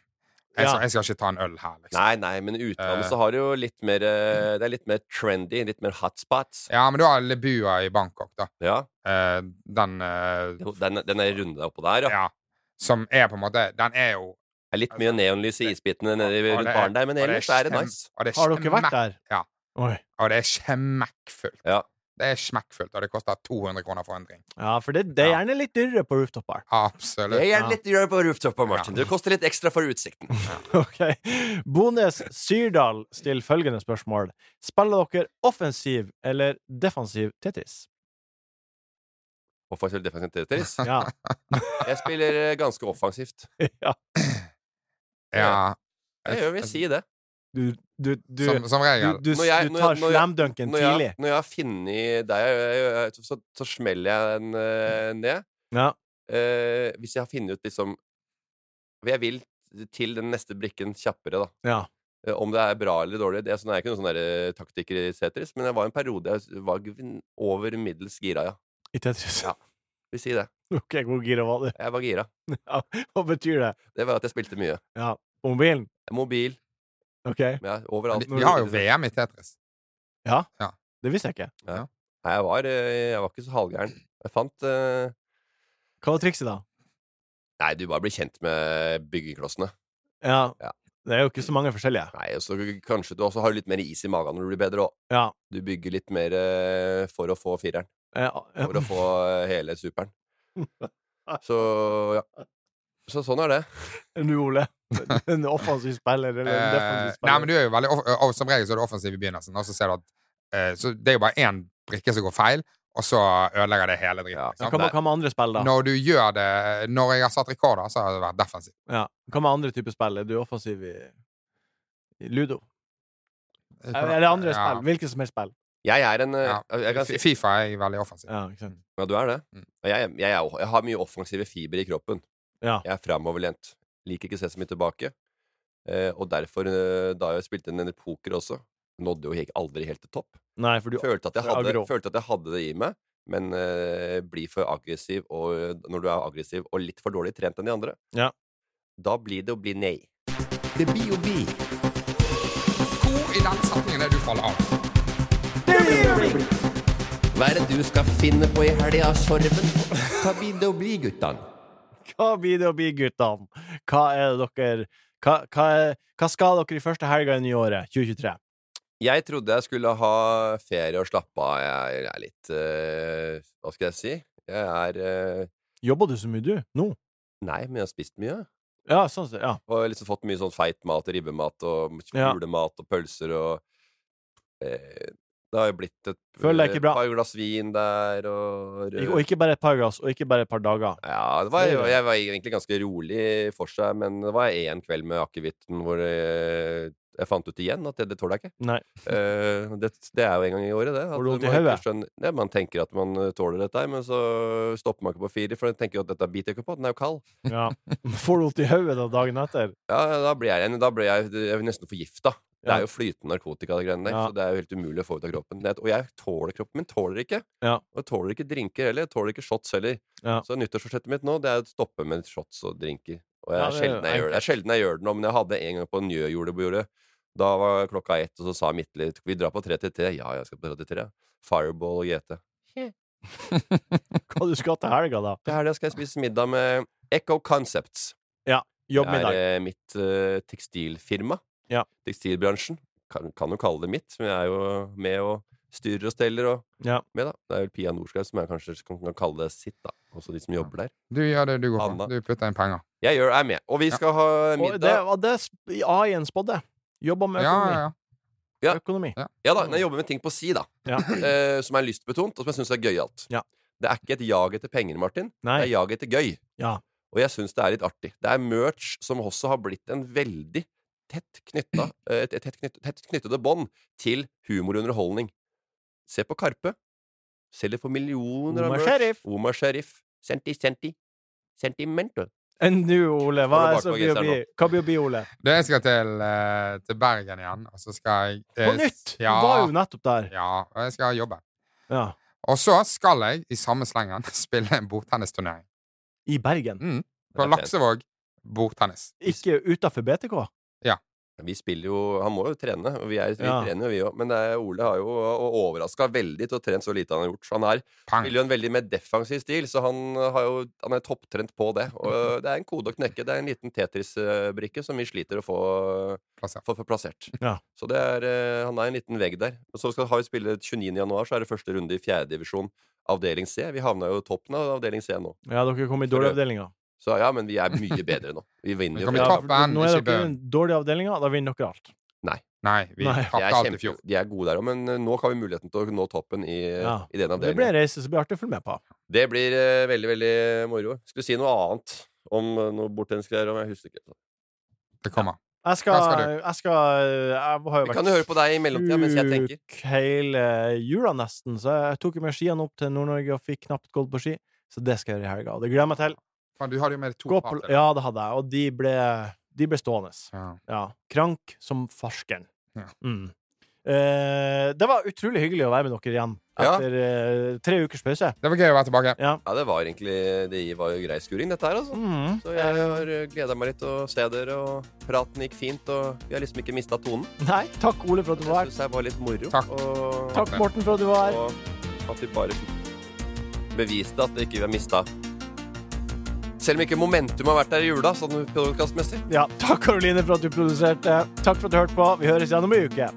D: Jeg
E: Ja.
D: skal, jeg skal ikke ta en øl her, liksom.
F: Nei, nei, men i utlandet
D: Eh.
F: så har det jo litt mer eh, Det er litt mer trendy, litt mer hotspots.
D: Ja, men du har Lebua i Bangkok, da.
F: Ja.
D: Eh, den eh,
F: Jo, Den, den er runda oppå der, ja. altså,
D: ja. Som er på en måte Den er jo
F: Det er litt mye neonlys i isbitene nede
D: og
F: rundt
D: det er-
F: baren der, men
D: og det er
F: ellers er det
D: kjem-
F: nice.
D: og det er
E: Har dere vært
D: kjempe-
E: der?
D: Ja.
E: Oi.
D: Og det er smekkfullt.
F: Ja.
D: Det er smekkfullt, og det koster 200 kroner for en drink.
E: Ja, for det, det er gjerne litt dyrere på rooftop bar.
F: Det
D: Absolutt.
F: er litt gjør på rooftoppa, Martin.
D: Ja.
F: Det koster litt ekstra for utsikten.
E: Ok. Bones Syrdal stiller følgende spørsmål. Spiller dere offensiv eller defensiv Tetris?
F: Offensivt defensivt Tetris.
E: Ja.
F: Jeg spiller eh, ganske offensivt.
E: ja.
D: Ja.
F: Jeg vil si eh, det.
E: Du, du, du,
D: som, som regel.
E: du, du,
F: Når jeg-
E: du
F: når
E: tar
F: jeg- når jeg-
E: slamdunken
F: Når jeg,
E: tidlig.
F: når jeg har funnet deg, eh, eh, så, så smeller jeg den eh, ned.
E: Mm. Ja.
F: Eh, hvis jeg har funnet ut liksom Jeg vil til den neste brikken kjappere, da.
E: ja.
F: Eh, Om det er bra eller dårlig Det er, sånn, det er ikke noen sånn der, eh, taktiker i Setris, men det var en periode jeg var gvin- over middels gira, ja.
E: I Tetris.
F: Ja. Vi sier det.
E: Ok, hvor gira var du?
F: Jeg var gira.
E: Ja. Hva betyr det?
F: Det var at jeg spilte mye.
E: Ja. Mobilen?
F: Mobil,
E: Ok.
F: ja,
D: Men
F: overalt.
D: de, de har jo VM i Tetris.
E: Ja. Det visste jeg ikke.
F: Ja. Nei, jeg var, eh, jeg var ikke så halvgæren. Jeg fant eh,
E: Hva var trikset, da?
F: Nei, du bare blir kjent med byggeklossene.
E: Ja.
F: Ja.
E: Det er jo ikke så mange forskjellige.
F: Nei, og så Kanskje du også har litt mer is i magen når du blir bedre òg.
E: Ja. Eh,
F: Du bygger litt mer eh, for å få fireren.
E: Ja.
F: For å få eh, hele superen. Så ja. Så sånn er det.
E: Nå, Ole. En offensiv spiller eller en defensiv
D: Eh, nei, men
E: spiller.
D: du er jo veldig off eh, og Som regel så er du offensiv i begynnelsen, og så ser du at eh, så Det er jo bare én brikke som går feil, og så ødelegger det hele dritten.
F: Ja.
E: Ja,
D: ikke sant?
E: Hva med, hva med andre spill, da?
D: Når du gjør det Når jeg har satt rekorder, så har jeg vært defensiv.
E: Ja. Hva med andre typer spill? Er du offensiv i, i ludo? Eh, Eller andre
D: Ja.
E: spill? Hvilket som helst spill.
F: Jeg er en eh,
D: Ja.
F: jeg kan si,
D: Fi- Fifa er jeg veldig offensiv.
E: Ja, ikke sant?
F: Ja, du er det.
D: Mm.
F: Og jeg, jeg, er jo- jeg har mye offensive fiber i kroppen.
E: Ja.
F: Jeg er framoverlent. Liker ikke å se så mye tilbake. Eh, og derfor, eh, da jeg spilte en del poker også, nådde jo jeg aldri helt til topp.
E: Nei, for du
F: Følte at jeg
E: for
F: hadde,
E: aggro.
F: følte at jeg hadde det i meg, men eh, blir for aggressiv og, eh, når du er aggressiv og litt for dårlig trent enn de andre.
E: Ja.
F: Da blir det å bli nei.
C: Det blir jo bi.
D: Hvor i den setningen er det du faller av?
C: Hva er det du skal finne på i helga, Sorven? Hva blir det å bli, guttan?
E: Hva blir det å bli, guttene? Hva er det dere hva, hva, er- hva skal dere i første helga i nyåret 2023?
F: Jeg trodde jeg skulle ha ferie og slappe av. Jeg er litt eh, Hva skal jeg si? Jeg er eh,
E: Jobber du så mye, du? Nå?
F: Nei, men jeg har spist mye.
E: Ja, sånn sett. Ja.
F: Og liksom fått mye sånn feit mat, ribbemat og
E: Ja.
F: julemat og pølser og eh, Det har jo blitt et eh,
E: Føler deg ikke bra.
F: par glass vin der og
E: Ik- Og ikke bare et par glass, og ikke bare et par dager.
F: Ja, det var,
E: Det gjør det.
F: jeg var egentlig ganske rolig for seg, men det var én kveld med akevitten hvor eh, jeg fant ut igjen at det, det tåler jeg ikke.
E: Nei.
F: Eh, det, det er jo en gang i året, det. At
E: Får du vondt i
F: man ikke
E: hodet?
F: skjønner- ja, man tenker at man eh, tåler dette, her, men så stopper man ikke på fire, for man tenker jo at dette biter jeg ikke på, den er jo kald.
E: Ja. Får du vondt i hodet da dagen etter?
F: Ja, da blir jeg, da blir jeg, jeg blir nesten forgifta. Det
E: Ja.
F: er jo flytende narkotika, det greiene der,
E: Ja.
F: så det er jo helt umulig å få ut av kroppen. Det, og jeg tåler kroppen min, tåler ikke.
E: Ja.
F: Og jeg tåler ikke drinker heller. Jeg tåler ikke shots heller.
E: Ja.
F: Så nyttårsforsettet mitt nå, det er å stoppe med shots og drinker. Og jeg,
E: Ja,
F: er
E: det er
F: sjelden jeg gjør det. Det er sjelden jeg gjør det nå, men jeg hadde en gang på Njøjordebordet. Da var klokka ett, og så sa Midtli Skal vi dra på 33? Ja, jeg skal på 33. Fireball og GT.
E: Hva du skal til helga, da?
F: Til helga skal jeg spise middag med Echo Concepts.
E: Jobbmiddag.
F: Det er eh, mitt eh, tekstilfirma.
E: Ja.
F: Tekstilbransjen. Kan, kan jo kalle det mitt, men jeg er jo med og styrer og steller og
E: Ja.
F: med, da. Det er vel Pia Norskau som jeg kanskje kan, kan kalle det sitt, da. Også de som jobber der.
D: Du gjør det du går
F: Anna.
D: for. Du putter inn penger.
F: Jeg gjør, er med. Og vi skal ha
E: Og det
F: middag.
E: var det sp- AI-en spådde. Jobber med
D: Ja, ja,
E: økonomi.
D: ja.
F: Ja.
E: økonomi.
F: Ja da, men jeg jobber med ting på si, da.
E: Ja.
F: Eh, som er lystbetont, og som jeg syns er gøyalt.
E: Ja.
F: Det er ikke et jag etter penger, Martin. Det
E: Nei.
F: er jag etter gøy.
E: Ja.
F: Og jeg syns det er litt artig. Det er merch som også har blitt en veldig tett knytta eh, et, et, tett knytt- tett knyttede bånd til humor og underholdning. Se på Karpe. Selger for
E: Omar
F: millioner av merch.
E: Sharif.
F: Omar Sheriff. Senti, senti. Sentimental.
E: Enn du, Ole. Hva
F: Står
E: er
F: det
E: det som blir å bli?
F: bak på genseren
E: Hva blir å bli, Ole?
D: Det jeg skal til, eh, til Bergen igjen, og så skal jeg eh,
E: På nytt! Du
D: Ja,
E: var jo nettopp der.
D: ja, og jeg skal jobbe.
E: Ja.
D: Og så skal jeg, i samme slengen, spille en bordtennisturnering.
E: I Bergen.
D: Mm. På
F: Det er
D: Laksevåg bordtennis.
E: Ikke utafor BTK.
F: Vi spiller jo Han må jo trene, og vi, er, vi
E: Ja.
F: trener jo, vi òg. Men det er, Ole har jo overraska veldig til å trene så lite han har gjort. Så han er
D: Pang.
F: spiller jo en veldig mer defensiv stil, så han, har jo, han er topptrent på det. Og det er en kode å knekke. Det er en liten Tetris-brikke som vi sliter å få,
D: Plassert.
F: få, få plassert.
E: Ja.
F: Så det er, eh, han er en liten vegg der. Og så skal, har vi spille 29. januar, så er det første runde i fjerde divisjon avdeling C. Vi havna jo i toppen av avdeling C nå.
E: Ja, dere kom i dårligavdelinga.
F: Så ja, men vi er mye bedre nå. Vi vinner
D: Vi
F: jo.
D: kommer
F: flere-
D: til å tape en,
E: Nå er
D: ikke
E: dere i
D: bøen.
E: den dårlige avdelinga, da vinner dere alt.
D: Nei, vi
E: Nei.
F: De
D: tapte
F: er,
D: alt i
F: kjempe,
D: fjor.
F: de er gode der òg, men eh, nå har vi muligheten til å nå toppen i,
E: Ja.
F: i
E: Det
F: den
E: blir
F: avdelingen.
E: en reise som blir artig å følge med på.
F: Det blir eh, veldig, veldig moro. Skulle si noe annet om eh, noe bortennisgreier, men jeg husker ikke.
D: Det kommer.
E: Jeg skal,
D: Hva skal
E: jeg skal eh, Jeg har jo
F: Vi
E: vært
F: kan jo høre på deg i mellomtida mens jeg tenker.
E: sjuk hele jula, nesten. Så jeg tok jo med skiene opp til Nord-Norge og fikk knapt gått på ski. Så det skal jeg gjøre i helga, og det gleder jeg meg til.
D: Faen, du hadde jo med deg to
E: Gå
D: par
E: på,
D: til.
E: ja, det hadde jeg, og de ble, de ble stående.
D: Ja.
E: Ja. Krank som farsken.
D: Ja.
E: Mm. Eh, det var utrolig hyggelig å være med dere igjen
F: Ja.
E: etter eh, tre ukers pause.
D: Det var gøy å være tilbake.
E: Ja.
F: Ja, det var egentlig Det var jo grei skuring, dette
E: Mm.
F: her, altså. Så jeg har gleda meg litt til å se dere, og praten gikk fint, og vi har liksom ikke mista tonen.
E: Nei, takk, Ole, for at du
F: Jeg
E: var her.
F: syns det var litt moro.
D: Takk.
F: Og,
E: Takk, Morten, for at du var her.
F: og at vi bare fikk bevist at vi ikke har mista Selv om ikke momentum har vært der i jula, sånn podkastmessig.
E: Ja, takk, Karoline, for at du produserte. Takk for at du hørte på. Vi høres igjen om ei uke.